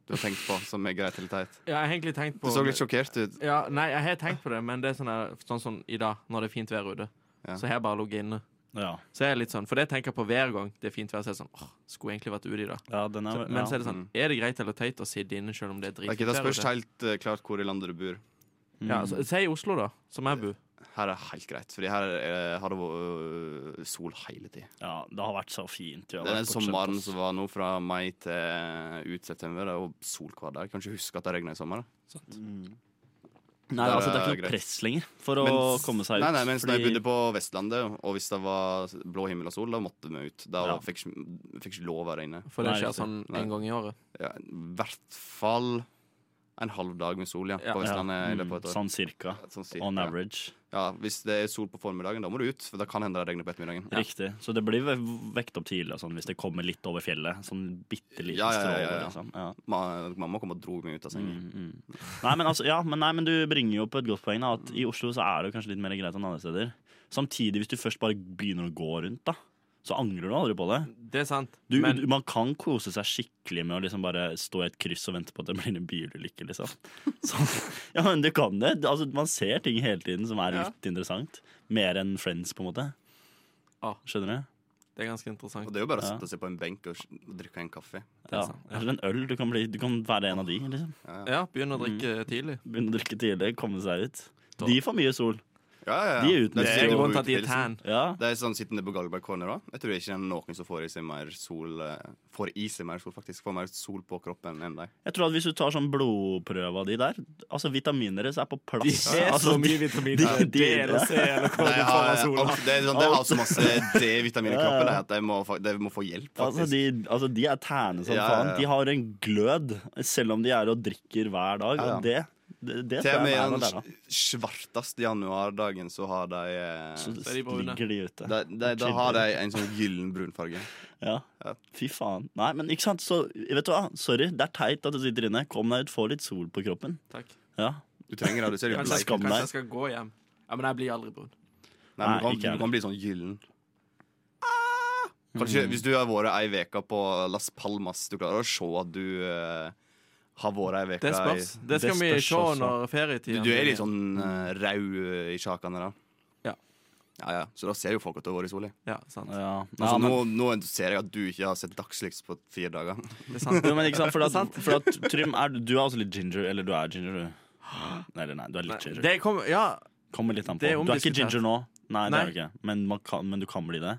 du har tenkt på som er greit eller teit? Ja, jeg har egentlig tenkt Du på så litt sjokkert ut. Ja, nei, jeg har tenkt på det, men det er sånn, her- sånn som i dag, når det er fint vær ute. Ja. Så har jeg bare ligget inne. Ja. Så jeg er litt sånn, For det tenker jeg på hver gang det er fint vær. Så er jeg sånn, åh, skulle egentlig vært ute i dag. ja, den er Så, men så er det sånn, Mm. er det greit eller teit å sitte inne selv om det er Det, er dritfint ikke, det vær spørs ute? helt eh, klart hvor i landet du bor. mm. Ja, altså- så, Si i Oslo, da, som jeg bor. Her er helt greit, Fordi her eh, har det vært sol hele tiden. Ja, det har vært så fint. vi har Den vært bortskjemt, sommeren ass. som var nå fra mai til ut september, det var sol hver dag. Kan ikke huske at det regna i sommer. da. Mm. Nei, Der altså det er er ikke greit. noe press lenger for å Mens- komme seg ut. Nei, nei, mens når jeg fordi- bodde på Vestlandet, og hvis det var blå himmel og sol, da måtte vi ut. Da Ja. fikk vi ikke lov å være inne. For det Nei, skjer riktig. sånn Nei. en gang i året. Ja, I hvert fall en halv dag med sol, ja, Ja. på Vestlandet Ja, i løpet av et år. Sånn cirka. Sånn cirka. On average. Ja, Hvis det er sol på formiddagen, da må du ut, for det kan hende det regner på ettermiddagen. Riktig. Så det blir ve- vekt opp tidlig og sånn, hvis det kommer litt over fjellet. Sånn bitte liten Ja, ja, ja, ja, stråle, ja. liksom. Ja. Ma- Mamma kom og dro meg ut av sengen. Mm, mm. Nei, men altså, ja, men, nei, men du bringer jo opp et godt poeng, da, at i Oslo så er det jo kanskje litt mer greit enn andre steder. Samtidig, hvis du først bare begynner å gå rundt, da, så angrer du aldri på det. Det er sant. Du, men du, man kan kose seg skikkelig med å liksom bare stå i et kryss og vente på at det blir en bilulykke, liksom. Så, ja, men du kan det. Altså, man ser ting hele tiden som er Ja. litt interessant. Mer enn Friends, på en måte. Ja. Skjønner du? det er ganske Og interessant. det er jo bare å Ja. sitte seg på en benk og s- og drikke en kaffe. er Ja. sant, ja. Eller en øl. Du kan, bli, du kan være en av de. liksom Ja, begynne å drikke tidlig. Begynne å drikke tidlig, komme seg ut. Da- De får mye sol. Ja, ja, ja. De er Det uten- Det Det er jo grunnen til at de er utpilsen. tan. Ja, Det er sånn sittende på Galberg Corner òg. Jeg tror ikke det er noen som får i seg mer sol eh, Får i seg mer sol, faktisk. Får mer sol på kroppen enn deg. jeg tror at Hvis du tar sånn blodprøve av de der Altså Vitaminene deres er på plass. altså, vitaminer. de- de- eller hva du Nei, ja, får av ja, sola. alt- det, er sånn, det har så masse D-vitamin i kroppen jeg, at jeg må, fa- de må få hjelp, altså, faktisk. de, altså, de er terne som Ja, ja, faen. ja. De har en glød, selv om de er og drikker hver dag. Ja, ja. Og det, det, det Til og tror med jeg er noe der, da. den svarteste januardagen så har de eh, Så er de brune. ligger de ute. de, de, Da har de en sånn gyllen brunfarge. Ja. Ja. Fy faen. Nei, men ikke sant. Så vet du hva, sorry. Det er teit at du sitter inne. Kom deg ut, få litt sol på kroppen. Takk. Ja. Du trenger det, du ser jo Kanskje, jeg- Kanskje- bleik ut. skam deg. kanskje jeg skal gå hjem. Ja, Men jeg blir aldri brun. Nei, men du Nei, kan, ikke jeg. du kan bli sånn gyllen. Ah! Mm. Kanskje hvis du har vært ei veke på Las Palmas, du klarer å se at du eh, har vært ei Det veke i spørs. Det skal Det vi spørs se også. når ferietiden Du, du er litt sånn uh, rau eh, i sjakene da. Ja. Ja, ja. Så da ser jo folk at du har vært i sola. Ja, sant. ja. Altså, men- nå, nå ser jeg at du ikke har sett dagslys på fire dager. Det er sant. Jo, men ikke sant, for at, for at Trym, er, du er også litt ginger, eller du er ginger, du. Nei, eller nei, du er litt Nei, ginger. Det kommer Ja, Kommer litt an på. det er Du er ikke omdiskutert. ginger nå, nei, det Nei. er du ikke. Men, man kan, men du kan bli det.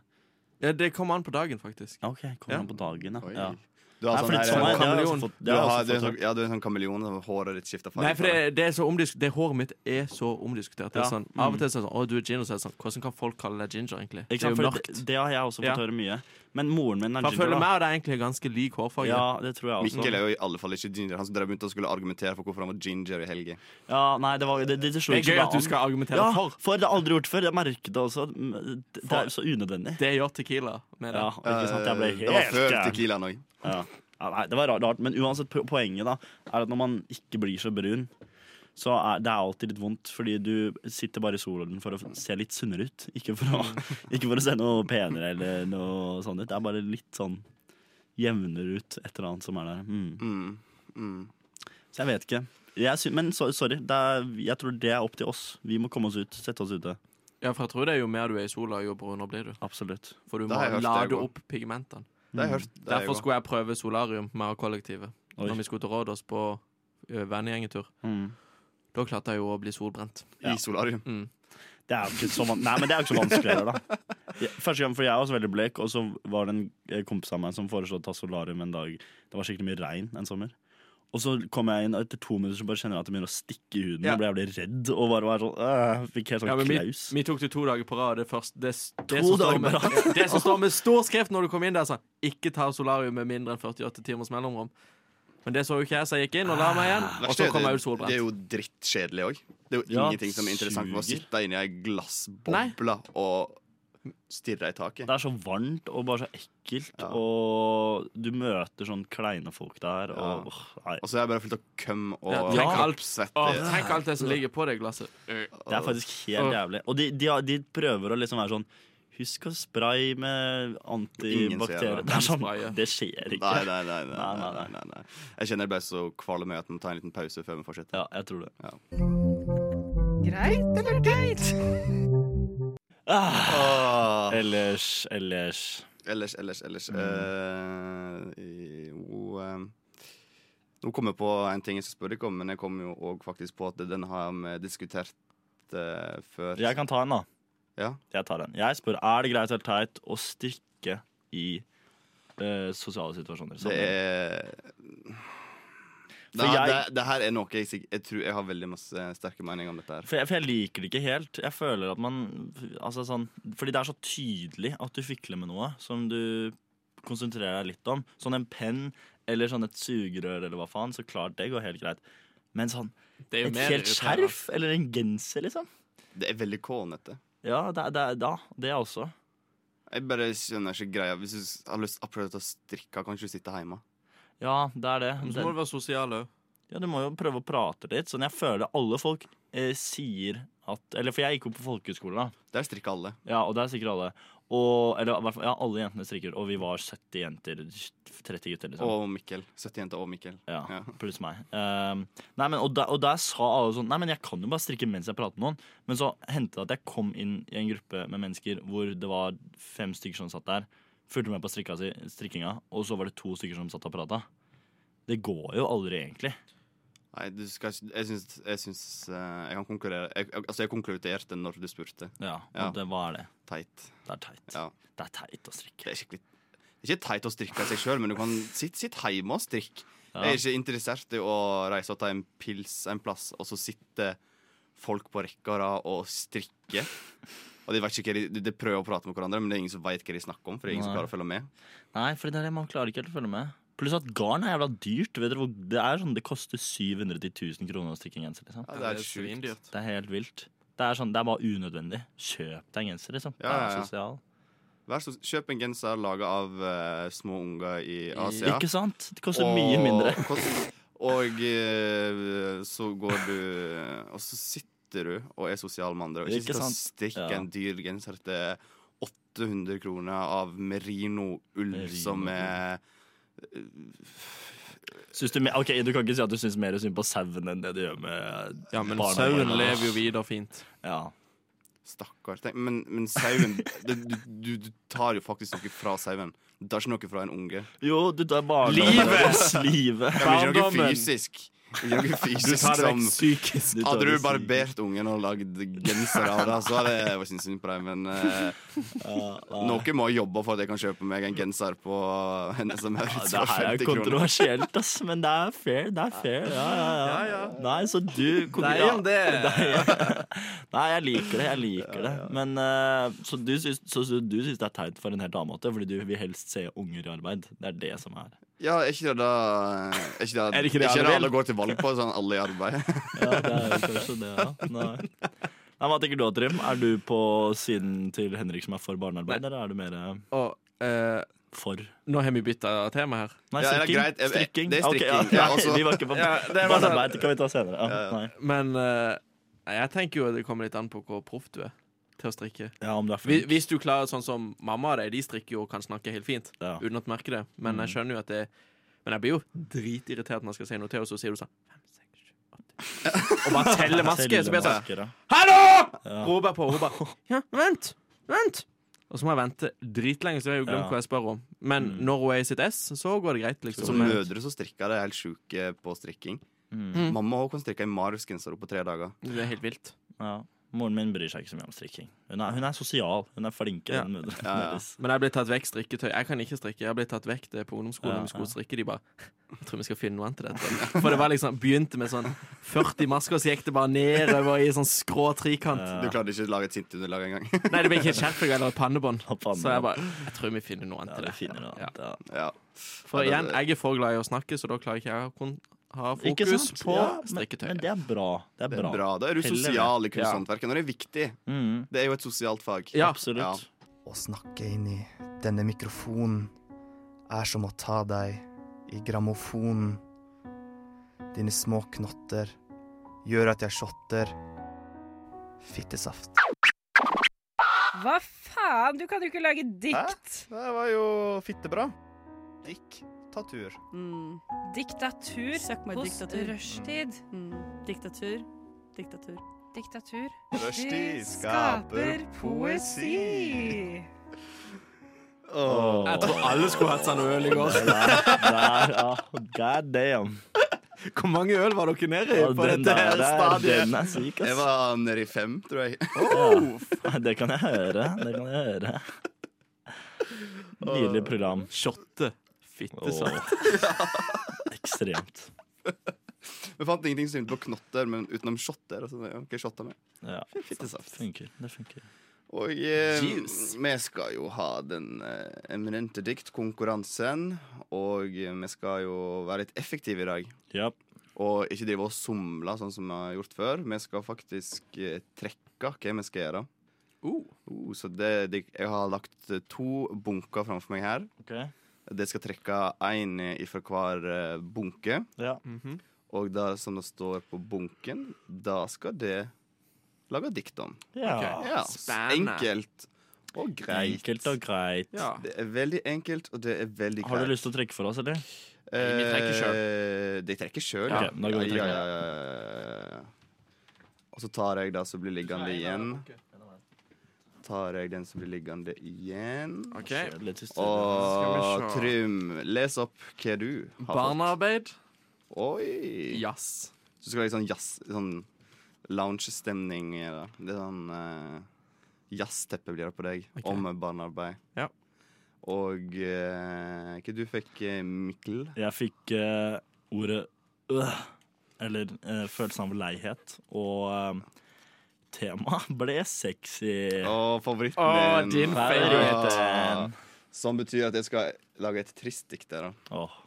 ja, det kommer an på dagen, faktisk. Ja, ok, kommer Ja. an på dagen, ja. Oi. ja. Du har Nei, sånn fordi her- sånn er- det har jeg kameleon. også fått- det Du har jeg har- også du er fått- sånn- Ja, du er en sånn kameleon som håret ditt skifter farge. Nei, for det, det er så omdisk Det håret mitt er så omdiskutert. Det er Ja. sånn, av Mm. og til så er det sånn Å, du er ginger. Så er det sånn, Hvordan kan folk kalle deg ginger, egentlig? det Ikke sant? er jo For mørkt. det, det har jeg også fått Ja. høre mye. Men moren min For jeg er ginger. føler da. meg og deg egentlig er ganske lik hårfarge. Ja, det tror jeg også. Mikkel er jo i alle fall ikke ginger. Han drev begynte å skulle argumentere for hvorfor han var ginger i helga. Ja, nei, det, var, det, det, det slo Det er gøy ikke meg at du an. skal argumentere Ja, for. for det har jeg aldri gjort før. Jeg merket det også. Det det er så unødvendig. Det gjør Tequila med det. Ja, ikke sant? Jeg ble Eh, det var helt før gæren. Tequilaen òg. Ja. Ja, nei, det var rart, rart, men uansett po- poenget da er at når man ikke blir så brun, så er det er alltid litt vondt, fordi du sitter bare i solen for å f- se litt sunnere ut. Ikke for å, ikke for å se noe penere eller noe sånt ut. Det er bare litt sånn jevnere ut et eller annet som er der. Mm. Mm. Mm. Så jeg vet ikke. Jeg sy men so sorry, det er, jeg tror det er opp til oss. Vi må komme oss ut, sette oss ute. Ja, for jeg tror det er jo mer du er i sola, jo brunere blir du. Absolutt. For du Det må har jeg hørt, det lade er godt. opp pigmentene. Det har jeg hørt. Det er Derfor jo- skulle jeg prøve solarium med kollektivet. Oi. Når vi skulle til Rådås på ø, vennegjengetur. Mm. Da klarte jeg jo å bli solbrent. Ja. I solarium. Det er jo ikke så, van Nei, men det er jo ikke så vanskelig heller, da. Jeg- Første gang, for jeg er også veldig blek, og så var det en eh, kompis av meg som foreslo å ta solarium en dag. Det var skikkelig mye regn en sommer. Og så kom jeg inn, og etter to minutter så bare kjenner jeg at det begynner å stikke i huden. Ja. Jeg ble jævlig redd og bare var sånn øh, Fikk helt sånn Ja, men vi, klaus. vi tok det to dager på rad. Det, først, det, det, To som står dager med, på rad? det som står med stor skrift når du kom inn der, sa ikke ta solarium med mindre enn 48 timers mellomrom. Men det så jo ikke jeg, så jeg gikk inn og la meg igjen. Og Ah, Verste så er kom det- jeg ut Det er solbrent. jo drittkjedelig òg. Det er jo Ja, ingenting som er interessant med å suger. sitte inni ei glassboble og stirre i taket. Det er så varmt og bare så ekkelt, Ja. og du møter sånn kleine folk der, og åh, nei. Og så er jeg bare fylt av køm og Ja, ja. tenk alt. kroppssvett. Å, i- tenk alt det som ligger på det glasset. Det er faktisk helt jævlig. Og de, de, har- de prøver å liksom være sånn Husk å spraye med Ingen ser antibakterier. det. Det, er sånn, Spraye. det skjer ikke. Nei, nei, nei, nei, Nei, nei, nei, nei, nei, nei. Jeg kjenner jeg ble så kvalm at jeg må ta en liten pause før vi fortsetter. Ja, jeg tror det. Greit eller teit? Ah. Eh, Åh. Ellers, ellers Ellers, ellers, ellers Mm. eh, i, jo, eh, Nå kom jeg på en ting jeg skal spørre deg om, men jeg kom jo òg faktisk på at den har vi diskutert eh, før. Jeg kan ta en, da. Ja. Jeg tar en. Jeg spør er det greit eller teit å strikke i eh, sosiale Det situasjoner. Sånn. er For det, her- jeg- det, det her er noe jeg, sik- jeg tror jeg har veldig masse sterke meninger om dette her. For jeg, for jeg liker det ikke helt. Jeg føler at man altså sånn, Fordi det er så tydelig at du fikler med noe som du konsentrerer deg litt om. Sånn en penn eller sånn et sugerør eller hva faen. Så klart det går helt greit. Men sånn Det er jo et mer helt irriterende. skjerf eller en genser, liksom. Det er veldig kålnete. Ja, det, er- det, er- ja, det er også. Jeg bare skjønner ikke greia. Hvis du s- har lyst til å prøve å strikke, kan ikke du sitte hjemme? Ja, det er det. Men Det- Så må du være sosial òg. Ja, du må jo prøve å prate litt. Sånn, jeg føler alle folk eh, sier at Eller for jeg gikk jo på folkehøyskole, da. Der strikker alle. Ja, og der sikkert alle. Og, eller i hvert fall, ja, alle jentene strikker, og vi var 70 jenter, 30 gutter, liksom. Og Mikkel. 70 jenter og Mikkel. Ja, Ja. pluss meg. Ehm, nei, men, og, der, og der sa alle sånn Nei, men jeg kan jo bare strikke mens jeg prater med noen. Men så hendte det at jeg kom inn i en gruppe med mennesker hvor det var fem stykker som satt der, fulgte med på strikka si, strikkinga, og så var det to stykker som satt og prata. Det går jo aldri, egentlig. Nei, du skal ikke Jeg syns jeg, syns, eh, jeg kan konkurrere. Jeg, jeg- altså, jeg konkluderte når du spurte. Ja, og Ja. Det, hva er det? Teit. Det er teit. Ja. Det er teit å strikke. Det er skikkelig Det er ikke teit å strikke i seg sjøl, men du kan sitte sitt hjemme og strikke. Ja. Jeg er ikke interessert i å reise og ta en pils en plass, og så sitter folk på rekke og rad og strikker. Og de, vet ikke hva de, de prøver å prate med hverandre, men det er ingen som veit hva de snakker om. For det er ingen som Nei. klarer å følge med Nei, for det er det man klarer ikke helt å følge med. Pluss at garn er jævla dyrt. Vet dere hvor Det er sånn det koster 700 000 kroner å strikke en genser. liksom Ja, Det er sjukt. svindyrt. Det er helt vilt. Det er sånn, det er bare unødvendig. Kjøp deg en genser, liksom. Ja, ja, Det ja. er sosial. Vær så, kjøp en genser laga av eh, små unger i Asia. Ikke sant? Det koster mye mindre. kost- og eh, så går du eh, Og så sitter du og er sosial med andre, og ikke, Ikke sitter og sant? strikker Ja. en dyr genser til 800 kroner av merino-ull Merino-ull. som er Syns du, me- ok, du kan ikke si at du syns mer synd på sauen enn det du gjør med Ja, men barna sauen våre. lever jo videre fint. Ja. Stakkar. Tenk- Men, men sauen det, du, du, du tar jo faktisk noe fra sauen. Du tar ikke noe fra en unge. Jo, du tar barna Livet! deres. Livet! Det blir ikke noe Barndommen. fysisk. Noe Du fysisk tar det som vekk psykisk. Du tar Hadde du det barbert ungen og lagd genser av det, så hadde jeg syntes synd på deg, men eh, noe må jeg jobbe for at jeg kan kjøpe meg en genser på Hennes og Ja, Maurits det for her er 50 kroner. kontroversielt, ass, men det er fair. Det er fair. Ja, ja, ja. Nei, så du Damn, det. Nei, jeg liker det. Jeg liker det. Men eh, Så du syns, så så du syns det er teit for en helt annen måte, fordi du vil helst se unger i arbeid. Det er det som er Ja, er ikke det da Er ikke det, Er det ikke det alle alle, vil? går til valg på, sånn alle i arbeid? Ja, det er jo kanskje det, ja. Nei. Nei, Hva tenker du, Trym? Er du på siden til Henrik som er for barnearbeid, eller er du mer eh, Og, eh, for nå har vi bytta tema her. Nei, Ja, det er strikking. greit. Jeg- jeg- strikking. det er Ok, strikking. ja, Ja, nei, altså- vi var ikke på Ja, det er bare sånn- barnearbeid, det kan vi ta senere. Ja, Ja, ja. nei. Men eh, nei, jeg tenker jo det kommer litt an på hvor proff du er til å strikke. ja om du er Hvis, flink. hvis du klarer sånn som mamma og deg, de strikker jo og kan snakke helt fint. Ja. Uten at du merker det. Men jeg skjønner jo at det Men jeg blir jo dritirritert når jeg skal si noe til, og så sier du sånn fem, seks, sju, åtte. Og bare teller maske. Så blir jeg sånn Tellemasker, ja. Hallo! Ja. Roper på, roper. Ja, vent, vent. Og så må jeg vente dritlenge, så jeg har jo glemt Ja. hva jeg spør om. Men Mm. når hun er i sitt ess, så går det greit, liksom. Som mødre så strikker de helt sjuke på strikking. Mm, Mamma òg kan strikke en Marius-genser på tre dager. Det er helt vilt. ja. Moren min bryr seg ikke så mye om strikking. Hun er, hun er sosial. Hun er flinkere Ja. enn mødrene Ja, ja. deres. Men jeg ble tatt vekk strikketøy. Jeg kan ikke strikke. Jeg ble tatt vekk det på ungdomsskolen. Ja, vi skulle ja. strikke de bare Jeg tror vi skal finne noe annet til dette. For det var liksom begynte med sånn 40 masker, og så gikk det bare nedover i sånn skrå trikant. Du klarte ikke å lage et sint underlag engang. Nei, det ble ikke et skjerfegg eller et pannebånd. Og pannebånd. Så jeg bare Jeg tror vi finner noe annet Ja, til de det. finner noe Ja. annet. Ja. Ja. For Ja, igjen, det- jeg er for glad i å snakke, så da klarer ikke jeg å kun ha Ikke fokus sant? på Ja, men, strikketøy. men det er bra. Det er Det er bra. bra. Da er du Heller det. sosial i Ja. kunsthåndverket. Når det er viktig. Mm, Det er jo et sosialt fag. Ja. absolutt. Å snakke inn i denne mikrofonen er som å ta deg i grammofonen. Dine små knotter gjør at jeg shotter. Fittesaft. Hva faen? Du kan jo ikke lage dikt. Det var jo fittebra. Dikk, ta tur. Mm. Diktatur Søk meg hos diktatur. rushtid. Mm. Diktatur. Diktatur. Diktatur. Rushtid skaper poesi. Jeg tror Alle skulle hatt sånn øl i går. Der, der, ja. God damn. Hvor mange øl var dere nede i Ja, på den dette der, her stadiet? Den er syk, Jeg ass. var nede i fem, tror jeg. Ja. Det kan jeg høre. Det kan jeg høre. Nydelig program. Shotte. Fittesaft. Åh. Ekstremt. Vi fant ingenting som begynte på knotter, men utenom shotter. Altså, ja, ok, shotter med. Ja, Fittesaft. funker. Det funker. Og eh, Juice. vi skal jo ha den eh, eminente diktkonkurransen. Og eh, vi skal jo være litt effektive i dag. Ja. Og ikke drive og somle sånn som vi har gjort før. Vi skal faktisk eh, trekke hva vi skal gjøre. Oh. Oh, så det, det, jeg har lagt eh, to bunker framfor meg her. Ok. Det skal trekke én fra hver eh, bunke. Ja. Og det som det står på bunken, da skal det lage dikt om. ja. Ja, Spennende. Enkelt og greit. Enkelt og greit. Ja. Det er veldig enkelt, og det er veldig greit. Har du lyst til å trekke for oss, eller? Nei, vi trekker selv. De trekker sjøl, Ja, da går vi og ja, trekker. ja, ja, ja. Og så tar jeg det som blir liggende igjen. Tar jeg den som blir liggende igjen. OK. Kjedelig tyst. Og Skal vi se. Trym, les opp hva du har Barnearbeid. fått. Oi! Jazz. Så skal det være sånn jazz Sånn lounge-stemning i det. Det er sånn eh, Jazzteppe blir det på deg Ok. om barnearbeid. Ja. Og eh, hva du fikk, eh, Mikkel? Jeg fikk eh, ordet øh, eller eh, følelsen av leihet, og uh, temaet ble sexy. Og favoritten Ah. Å, din Favoritten. Som betyr at jeg skal lage et trist dikt der, da. Åh.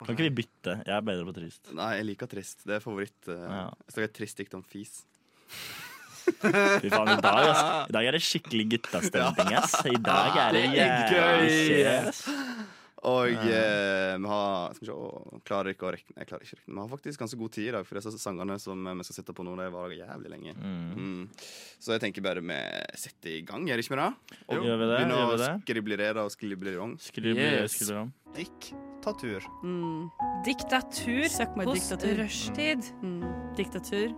Kan ikke vi bytte? Jeg er bedre på trist. Nei, jeg liker trist. Det er favoritt. eh, Ja. Jeg skal lage et trist dikt om fis. Fy faen, i dag, ass. I dag er det skikkelig guttastemning, ass. I dag er det Det er gøy. jævlig shit. Og eh, vi har Skal vi se å, Klarer ikke å rekne. Jeg klarer ikke å rekne. Vi har faktisk ganske god tid i dag, for disse sangene som eh, vi skal sitte på nå, de varer jævlig lenge. Mm. Så jeg tenker bare vi setter i gang, gjør ikke vi det? Jo. Gjør vi det? Begynner Gjør vi å det? skriblere og skriblere om. Skriv Yes. skriv om. Dikk, ta tur. Mm. Diktatur Søk meg hos diktatur. rushtid. Mm. Diktatur.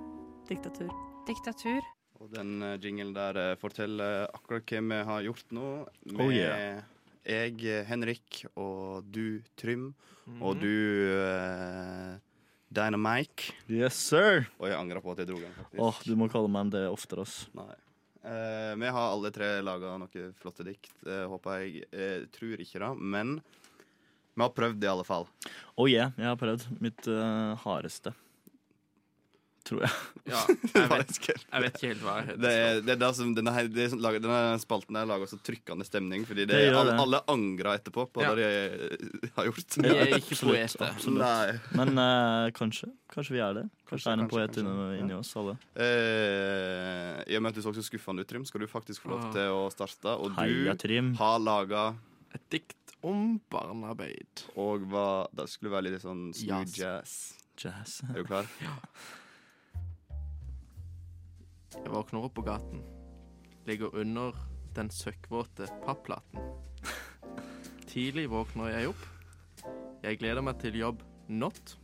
Diktatur. Diktatur. Og den eh, jinglen der eh, forteller akkurat hva vi har gjort nå. Med Oh, yeah. Mm. jeg, eh, Henrik, og du, Trym, og du eh, Dynamike. Yes, sir. Og jeg angrer på at jeg dro den. faktisk. Åh, Du må kalle meg det oftere. ass Nei. Eh, vi har alle tre laga noen flotte dikt, eh, håper jeg. Eh, tror ikke det, men vi har prøvd det i alle fall. Oh yeah, jeg har prøvd mitt eh, hardeste. Tror jeg. Ja, jeg vet, jeg vet ikke helt hva jeg Det er, det er det som, denne, her, det er som lager, denne spalten her lager så trykkende stemning, fordi det, Det gjør alle, det. alle angrer etterpå på Ja. det de eh, har gjort. Ja, absolutt, absolutt. Nei. Men eh, kanskje. Kanskje vi er det. Kanskje, det er en kanskje, poet kanskje. inni, inni Ja. oss alle. Eh, I og med at du så så skuffende ut, Trym, skal du faktisk få lov Ah. til å starte. Og Heia, du har laga Et dikt om barnearbeid. Og hva Det skulle være litt sånn smooth jazz. Jazz. Er du klar? Jeg våkner opp på gaten. Ligger under den søkkvåte papplaten. Tidlig våkner jeg opp. Jeg gleder meg til jobb not.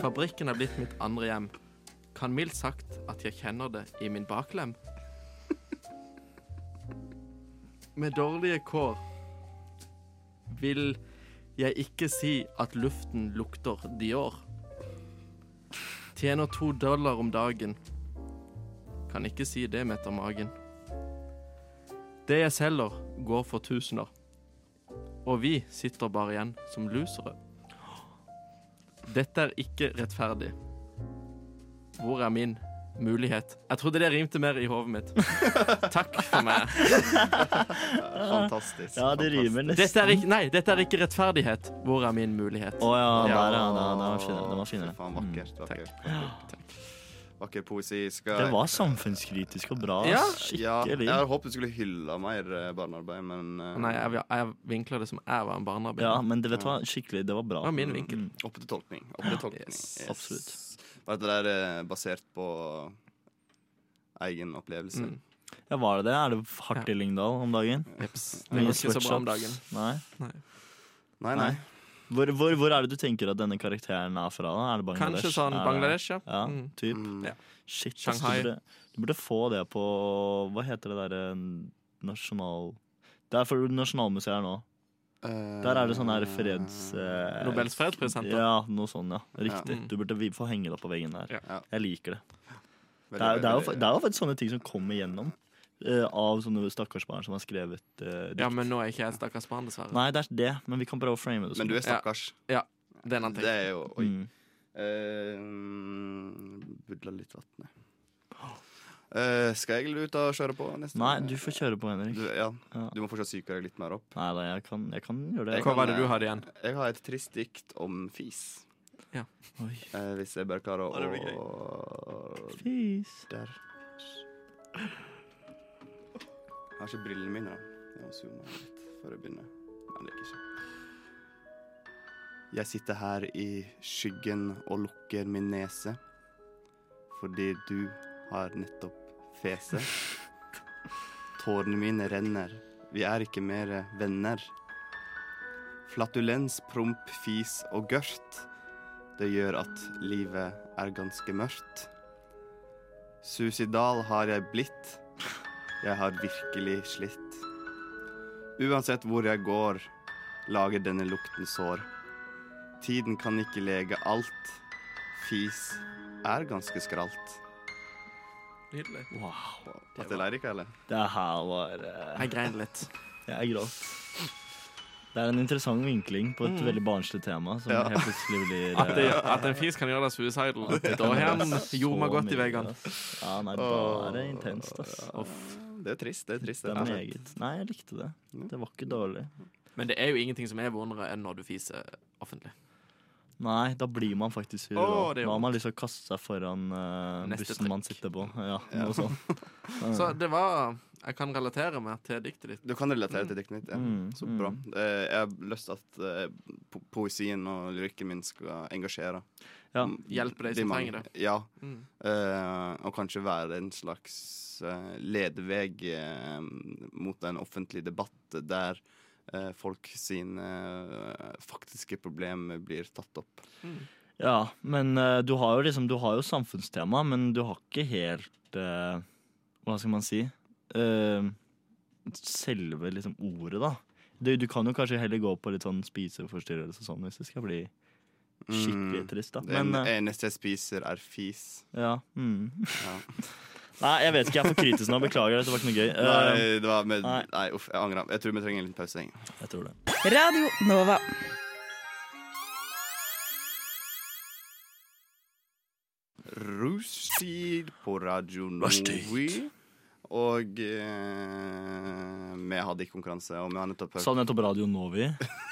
Fabrikken er blitt mitt andre hjem. Kan mildt sagt at jeg kjenner det i min baklem. Med dårlige kår vil jeg ikke si at luften lukter Dior. Tjener to dollar om dagen. Kan ikke si det med etter magen. Det jeg selger, går for tusener. Og vi sitter bare igjen som losere. Dette er ikke rettferdig. Hvor er min mulighet? Jeg trodde det rimte mer i hodet mitt. Takk for meg. Fantastisk. Ah. Ja, det rimer nesten. Dette er ikke, nei, dette er ikke rettferdighet. Hvor er min mulighet? Å ja, der, ja. Den den var finere. Den var finere. Faen, vakkert. vakkert, vakkert. Vakker poesi. Skal Mm, Det var samfunnskritisk og bra. Ja, ass. ja, Skikkelig. jeg hadde håpet du skulle hylle mer eh, barnearbeid, men eh, Nei, jeg, jeg vinkler det som jeg var en barnearbeider. Ja, men det vet du hva, skikkelig, det var bra. Det Mm. var min vinkel. Opp til tolkning. Opp til tolkning. Yes. Var det der eh, basert på egen opplevelse? Mm. Ja, var det det? Er det hardt i Lyngdal om dagen? Det går Mye ikke så bra om sweatshops? dagen. Nei? Nei. Nei, nei. Hvor, hvor, hvor er det du tenker at denne karakteren er fra? da? Er det Bangladesh? Kanskje sånn Er det- Bangladesh, ja. ja Mm. typ. Ja. Shit, ass, Shanghai. Du, burde, du burde få det på Hva heter det derre nasjonal... Det er for Nasjonalmuseet her nå. Eh, Der er det sånn her freds... eh, Nobels fredspris, sant, da? Ja, noe sånn, ja. Riktig. Ja. Mm. Du burde vi- få henge det opp på veggen der. Jeg liker det. Veldig, Det er, det, er jo, veldig- fa- det er jo faktisk sånne ting som kommer gjennom eh, av sånne stakkars barn som har skrevet eh, dikt. Ja, men nå er ikke jeg et stakkars barn, dessverre. Nei, det er det, men vi kan prøve å frame det. sånn. Men du er stakkars. Ja. Det er en annen ting. Det er jo Oi. Mm. Eh, Budla litt vann, jeg. Eh, skal jeg ut og kjøre på neste Nei, du får kjøre på, Henrik. Du, ja. du må fortsatt psyke deg litt mer opp. Nei, nei jeg, kan, jeg kan gjøre det. Jeg kan, eh, Jeg har et trist dikt om fis. Ja. Eh, hvis jeg bare klarer Å, det blir å Fis. Der. Jeg har ikke brillene mine, da. Jeg må zoome inn litt før jeg begynner. Nei, det er ikke sånn. Jeg sitter her i skyggen og lukker min nese fordi du har nettopp fese. Tårene mine renner, vi er ikke mere venner. Flatulens, promp, fis og gørt, det gjør at livet er ganske mørkt. Suicidal har jeg blitt. Jeg har virkelig slitt. Uansett hvor jeg går, lager denne lukten sår. Tiden kan ikke lege alt. Fis er ganske skralt. Nydelig. Wow. At jeg lærer ikke, eller? Det her var eh, Jeg grein litt. Jeg gråt. Det er en interessant vinkling på et Mm. veldig barnslig tema. Som Ja. helt plutselig blir At, det, eh, at en fis kan gjøre deg suicidal. Da har han Så gjort meg godt i mye, veggene. ass. altså, Ja, nei, da er det intenst, ass. Det er trist. Det er trist. Det er rett og slett. meget. Nei, jeg likte det. Mm. Det var ikke dårlig. Men det er jo ingenting som er vondere enn når du fiser offentlig. Nei, da blir man faktisk sur. Åh, da. det gjør da har man lyst til å kaste seg foran eh, Neste bussen man sitter på. Ja, Ja. noe sånt. Ja, ja. Så det var Jeg kan relatere meg til diktet ditt. Du kan relatere til diktet mitt. Ja. Mm, Så bra. Eh, Jeg har lyst til at eh, po poesien og lyrikken min skal engasjere. Ja. Mm, Hjelpe de blir som mange. trenger det. Ja. Mm. Eh, og kanskje være en slags eh, ledeveg eh, mot en offentlig debatt der eh, folk sine eh, faktiske problemer blir tatt opp. ja, men eh, du har jo liksom Du har jo samfunnstema, men du har ikke helt eh, Hva skal man si? Eh, selve liksom ordet, da. Du, du kan jo kanskje heller gå på litt sånn spiseforstyrrelse og sånn, hvis det skal bli Skikkelig trist, da. Mm, Det Men, eh, eneste jeg spiser, er fis. Ja. Mm. Ja. Nei, jeg vet ikke. Jeg er for kritisk nå. Beklager, dette var ikke noe gøy. Nei, Eh, det var med, nei. nei. uff, jeg angrer. Jeg tror vi trenger en liten pause. Jeg tror det. Radio Nova. Rushtid på Radio Novi. Rushtid. Og eh, vi hadde ikke konkurranse. Og vi har nettopp Sa du nettopp Radio Novi?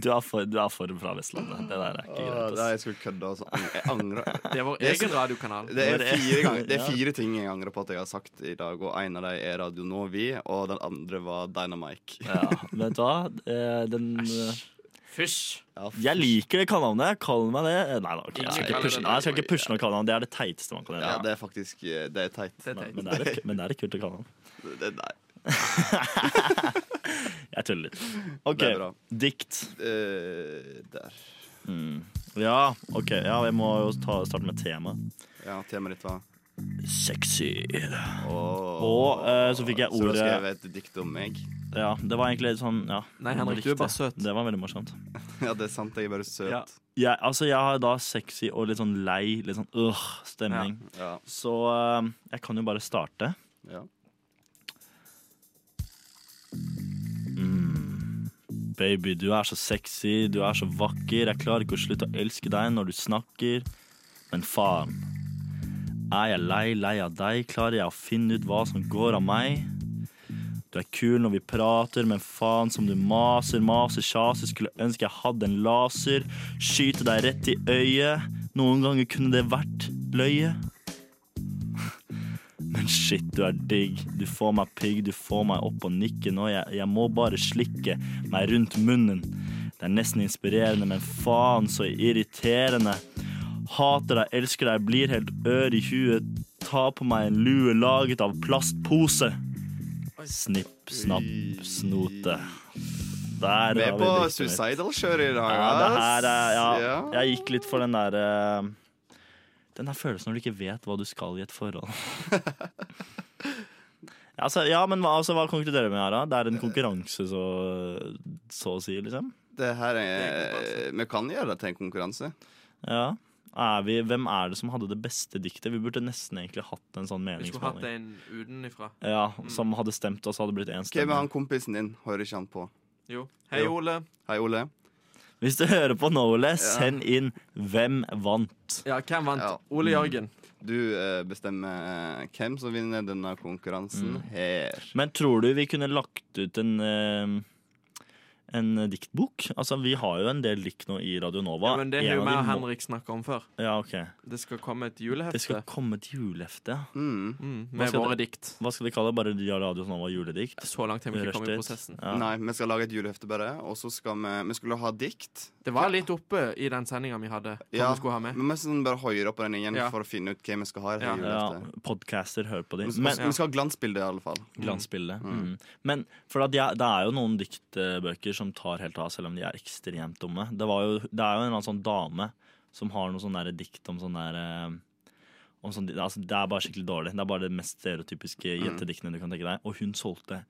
Du er for, du er for fra Vestlandet. Det der er ikke Åh, greit. nei, ass. jeg skulle kødde. Altså. Jeg angrer. Det er vår så- egen radiokanal. Det er, Det er- fire ganger, det er Ja. fire ting jeg angrer på at jeg har sagt i dag, og en av dem er Radio Novi, og den andre var Dynamike. Ja, vet du hva? Eh, Den Fysj. Jeg liker det kallenavnet. Kall meg det. Eh, Nei da, ok, jeg skal Ingen ikke pushe kaller det Nei, jeg skal ikke pushe noe kallenavn. Det er det teiteste man kan gjøre. Ja, det er faktisk eh, Det er teit. Men, men, det, er et, men det er et kult å kalle Det- Nei. Jeg tuller litt. OK, Det er bra. dikt. eh, der. Mm. Ja, OK. Ja, jeg må jo ta, starte med tema. Ja, temaet ditt var Sexy. Og eh, så fikk jeg Så da ordet skrev jeg et dikt om meg. Ja, det var egentlig litt sånn ja, Nei, Henrik, riktig. du er bare søt. Det var veldig morsomt. Ja, det er sant. Jeg er bare søt. Ja. Jeg, altså, jeg har da sexy og litt sånn lei, litt sånn øh, stemning. Så eh, jeg kan jo bare starte. Ja. Mm. Baby, du er så sexy, du er så vakker. Jeg klarer ikke å slutte å elske deg når du snakker. Men faen. Er jeg lei, lei av deg? Klarer jeg å finne ut hva som går av meg? Du er kul når vi prater, men faen som du maser, maser, kjaser. Skulle ønske jeg hadde en laser. Skyte deg rett i øyet. Noen ganger kunne det vært løye. Men shit, du er digg. Du får meg pigg, du får meg opp og nikke nå. Jeg, jeg må bare slikke meg rundt munnen. Det er nesten inspirerende, men faen så irriterende. Hater deg, elsker deg, blir helt ør i huet. Ta på meg en lue laget av plastpose. Snipp, snapp, snote. Der Med har vi på diktet mitt. suicidal-kjør i dag. Ja, det her er, ass. ja, Ja. Jeg gikk litt for den der eh, Den der følelsen når du ikke vet hva du skal i et forhold. Ja, altså, ja, men hva, altså, hva konkluderer vi med her, da? Det er en konkurranse, så, så å si, liksom? Det her er Vi kan gjøre det til en konkurranse. Ja. Er vi, hvem er det som hadde det beste diktet? Vi burde nesten egentlig hatt en sånn Vi skulle hatt meningsmåling. en utenfra. Ja, Som hadde stemt, og så hadde det blitt én Hva med stemme. han kompisen din? Hører ikke han på? Jo. Hei, Jo. Ole. Hei, Ole. Hvis du hører på Nole, Ja. send inn 'Hvem vant?' Ja, hvem vant? Ole Jørgen. Du eh, bestemmer eh, hvem som vinner denne konkurransen Mm. her. Men tror du vi kunne lagt ut en eh, en diktbok? Altså, Vi har jo en del dikt nå i Radio Nova. Ja, men det har jo En av meg og de må- Henrik snakka om før. Ja, ok. Det skal komme et julehefte. Det skal komme et julehefte. ja. Mm. Mm, Hva med skal våre det- dikt. Hva skal vi kalle det? Bare Radio Nova juledikt? Så langt har vi ikke kommet i Rushtid. prosessen. Ja. Nei, vi skal lage et julehefte bare, og så skal vi Vi skulle ha dikt. Det var litt oppe i den sendinga vi hadde. hva Ja, vi skulle ha med. men vi skal bare høyere opp på den igjen Ja. for å finne ut hva vi skal ha. i Ja. juleheftet. Ja, podcaster, hør på dem. Vi skal- vi skal ha glansbilde, i alle fall. Glansbilde. Mm. Mm. Men for at jeg, det er jo noen diktbøker som tar helt av, selv om de er ekstremt dumme. Det, var jo, det er jo en eller annen sånn dame som har noe sånn derre dikt om sånn derre om sånn, altså det er bare skikkelig dårlig. Det er bare det mest stereotypiske jentediktene du kan tenke deg. Og hun solgte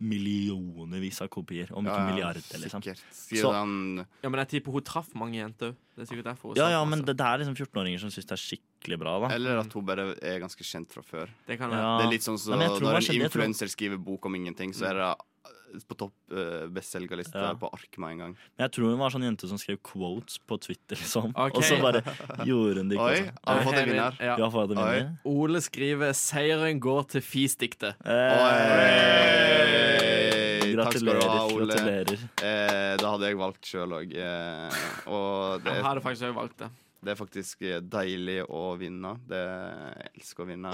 millionervis av kopier, om ikke Ja, ja, milliarder. Liksom. sikkert. Så- Ja, men jeg tipper hun traff mange jenter. Det er sikkert derfor hun ja, sa ja, masse. men det, det er liksom 14-åringer som syns det er skikkelig bra. da Eller at hun bare er ganske kjent fra før. Det kan være. Ja. Det er litt sånn som Nei, men jeg når tror det er en kjent- jeg tror- influenser skriver bok om ingenting, så er det eh, på topp uh, bestselgerlista Ja. på ark med en gang. Men jeg tror hun var sånn jente som skrev quotes på Twitter, liksom. Ok. Og så bare gjorde hun det. ikke, Oi, altså. har vi fått en vinner? Ja. Du har fått en vinner. Ole skriver 'Seieren går til fisdiktet'. Takk skal du ha, Ole. gratulerer. Eh, det hadde jeg valgt sjøl òg. Eh, og det Jeg er, hadde faktisk også valgt det. det er faktisk eh, deilig å vinne. Det, jeg elsker å vinne.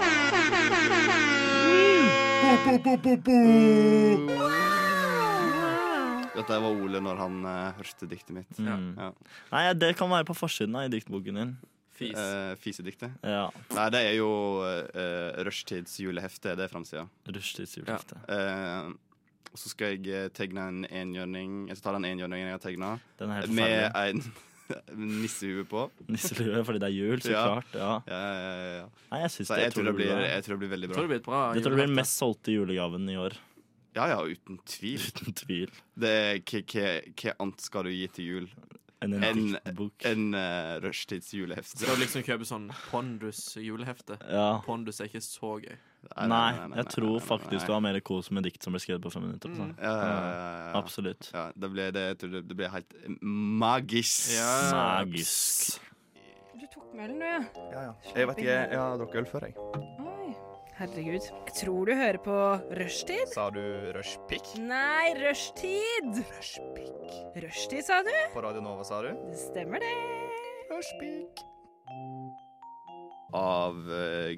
Dette var Ole når han eh, hørte diktet mitt. Mm. Ja. Nei, det kan være på forsiden da, i diktboken din. Fis. Eh, fisediktet? Ja. Nei, det er jo uh, Rushtids julehefte. Det er framsida. Rushtids julehefte. Eh, og så skal jeg eh, tegne en enhjørning. Jeg skal ta den enhjørningen jeg har tegna, Den er helt med en nissehue på. Nisselue, fordi det er jul, så klart. Ja. Ja, ja, ja, ja. Nei, jeg, syns så det, jeg, tror det blir, bra. jeg tror det blir veldig bra. Det tror jeg blir den mest solgte julegaven i år. Ja, ja, uten tvil. Uten tvil. Det er, hva, hva, hva annet skal du gi til jul? enn en en, diktbok. en eh, rushtidssjulehefte. Skal du liksom kjøpe sånn Pondus-julehefte? Ja. Pondus er ikke så gøy. Nei, jeg tror faktisk du har mer kos med dikt som ble skrevet på fem minutter. altså. Mm. Ja, Absolutt. Ja, det ble, det, jeg tror det, det ble helt magisk. Ja. Magisk. Du tok med ølen, du, ja. Ja, ja. Jeg vet ikke, jeg jeg har drukket øl før, jeg. Oi, herregud. Jeg tror du hører på Rushtid. Sa du rushpick? Nei, Rushtid. Rushtid, sa du? På Radio Nova, sa du? Det stemmer det. Rushpick. Av eh,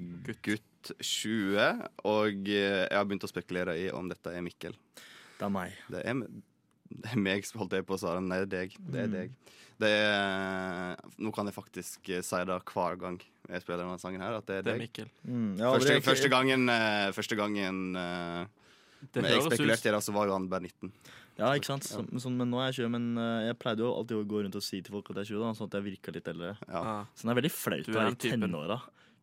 gutt 20. Og eh, jeg har begynt å spekulere i om dette er Mikkel. Det er meg. Det er, det er meg, holdt jeg på å svare. Nei, det er deg. Det er Mm. deg. Det er, eh, nå kan jeg faktisk eh, si det hver gang jeg spiller denne sangen her, at det er Det er deg. Mikkel. Mm, ja, første, det er ikke- første gangen, eh, første gangen eh, Det men jeg høres ut- spekulerte i det, så var jo han bare 19. Ja, ikke sant? Så, sånn, men nå er jeg 20, men eh, jeg pleide jo alltid å gå rundt og si til folk at jeg er 20, da, sånn at jeg virka litt eldre. Så det er veldig flaut Du å er være i den typen. tenåra.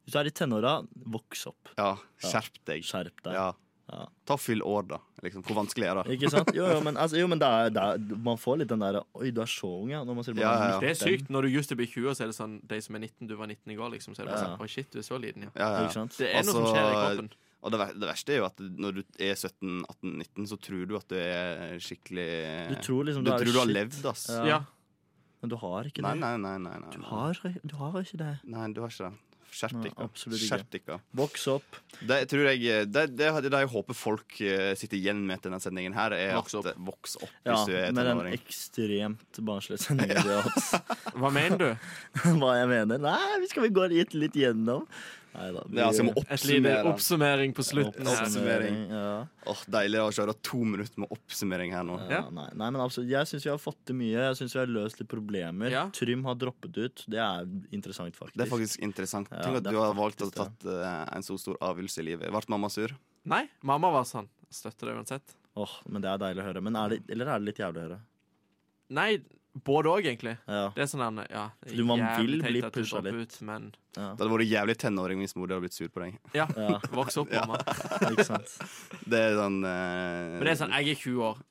Hvis du er i tenåra, voks opp. Ja, skjerp deg. Skjerp deg. Ja. Ta fyll år, da. Liksom, hvor vanskelig er det? Ikke sant? Jo, jo, men, altså, jo, men det er, det er, man får litt den derre Oi, du er så ung, ja. Når man ser på den. Det er sykt. Når du just blir 20, så er det sånn de som er 19, du var 19 i går, liksom. Så er det bare Ja. sånn Oi, shit, du er så liten, ja. Ja, ja. Det er noe som Altså, skjer i kroppen. Og det, ver- det verste er jo at når du er 17-18-19, så tror du at du er skikkelig Du tror liksom du, du er tror du har shit. levd, ass. Ja. Ja. Men du har ikke nei, det. Nei, nei, nei, nei. Du har, du har ikke det. Nei, du har ikke det. Skjerp Nei, dere. absolutt ikke. Skjerp dere. Voks opp. Det tror jeg eh, Det, det, det jeg håper folk eh, sitter igjen med til denne sendingen her, er Voks at eh, voks opp hvis Ja, du er med den tenåring. ekstremt barnslige sendingen vi har hatt. Hva mener du? Hva jeg mener? Nei, vi skal vi gå litt, litt gjennom. Neida, vi- Det er altså jeg må Et lite oppsummere. oppsummering på slutten. her. Oppsummering. Åh, deilig å kjøre to minutter med oppsummering her nå. Ja, nei, nei, men absolutt. Jeg syns vi har fått til mye. Jeg synes vi har løst litt problemer. Trym har droppet ut. Det er interessant, faktisk. Det er faktisk interessant. Ja, Tenk at det er du har valgt å tatt eh, en så stor avgjørelse i livet. Ble mamma sur? Nei, mamma var sånn. Støtter det uansett. Åh, men Det er deilig å høre. Men er det, Mm. eller er det litt jævlig å høre? Nei, både òg, egentlig. Ja. Det er sånn der, ja, det er Du, man jævlig vil teit bli at du pushet dropper litt. Ut, men Det hadde vært jævlig tenåring hvis mor hadde blitt sur på deg. Ja. Ja. Voks opp, mamma. Ikke sant? Det er sånn Men det er sånn, jeg er 20 år.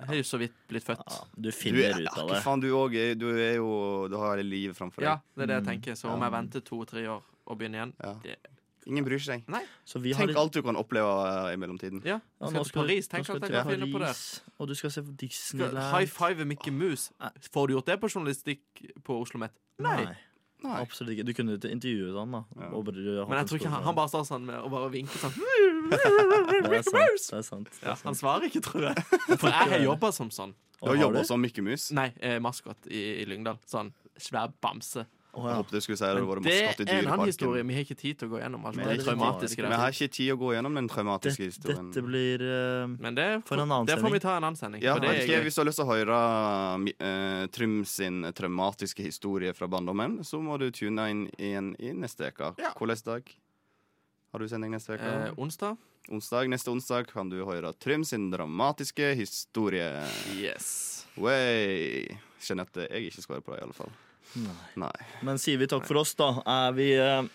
Jeg har jo så vidt blitt født. du du, ja, hva Faen, du, òg er, du er jo Du har hele livet framfor deg. Ja, det er det jeg Mm. tenker. Så om jeg venter to-tre år og begynner igjen det, Ingen bryr seg. Nei. vi har Tenk litt- alt du kan oppleve eh, i mellomtiden. Ja, Ja, skal til Paris. Tenk nå alt jeg skal kan du til finne på der. Paris, Og du skal se på Skal Disneyland. high five Mickey Mouse. Får du gjort det på journalistikk på Oslo Met? Nei. Nei. Absolutt ikke. Du kunne jo intervjuet han, da. og bare hatt Men en jeg tror ikke stor- han, han bare står sånn med, og bare vinker sånn. Det er sant. Det er sant. Ja, han svarer ikke, tror jeg. For jeg har jobba som sånn. Du har jobba som Mikke Mus? Nei, eh, maskot i, i Lyngdal. Sånn svær bamse. Jeg håpet du skulle si at det var det maskot i er en annen historie. Dyreparken. Vi har ikke tid til å gå gjennom alt Vi det traumatiske der. har ikke tid å gå gjennom den traumatiske historien. Dette blir eh, Men det, for en annen det får sending. vi ta en annen sending. Ja, for det vet er ikke, gøy. hvis du har lyst til å høre eh, Trym sin traumatiske historie fra barndommen, så må du tune inn igjen i neste uke. Hvilken dag har du sending neste uke? Eh, onsdag. Onsdag, Neste onsdag kan du høre Trym sin dramatiske historie. Yes Way. Kjenner at jeg ikke skal høre på det, i alle fall. Nei. Nei. Men sier vi takk for oss, da? Er vi eh,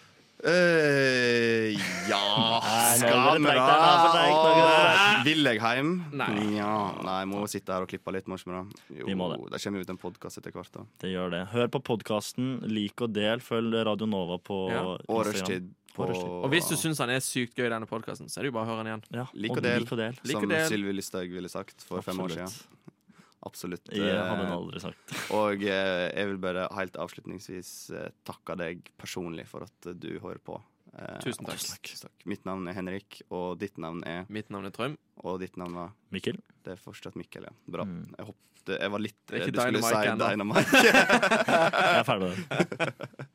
Eh, ja Nei, nå Skal er det vi trekt da? her, nå er det trekt, nå er det Åh, trekt. Vil jeg hjem? Nei. Ja, nei, må sitte her og klippe litt. Må ikke vi det? Jo, må det. kommer jo ut en podkast etter hvert. da Det gjør det. Hør på podkasten, lik og del. Følg Radio Nova på Ja. Instagram. Og Rushtid på- Og Rushtid. Og hvis du syns han er sykt gøy i denne podkasten, så er det jo bare å høre han igjen. Lik og del, som Sylvi Lysthaug ville sagt for fem år Absolutt. siden. Absolutt. Jeg Eh, hadde hun aldri sagt. Og eh, jeg vil bare helt avslutningsvis eh, takke deg personlig for at eh, du hører på. Eh, Tusen takk. og tusen takk. Mitt navn er Henrik, og ditt navn er Mitt navn er Trøm. Og ditt navn var Mikkel. Mm. Det er fortsatt Mikkel, ja. Bra. Jeg hoppet eh, Jeg var litt Det er ikke Du skulle Dynamike si ennå. Jeg Dynamike. er ferdig med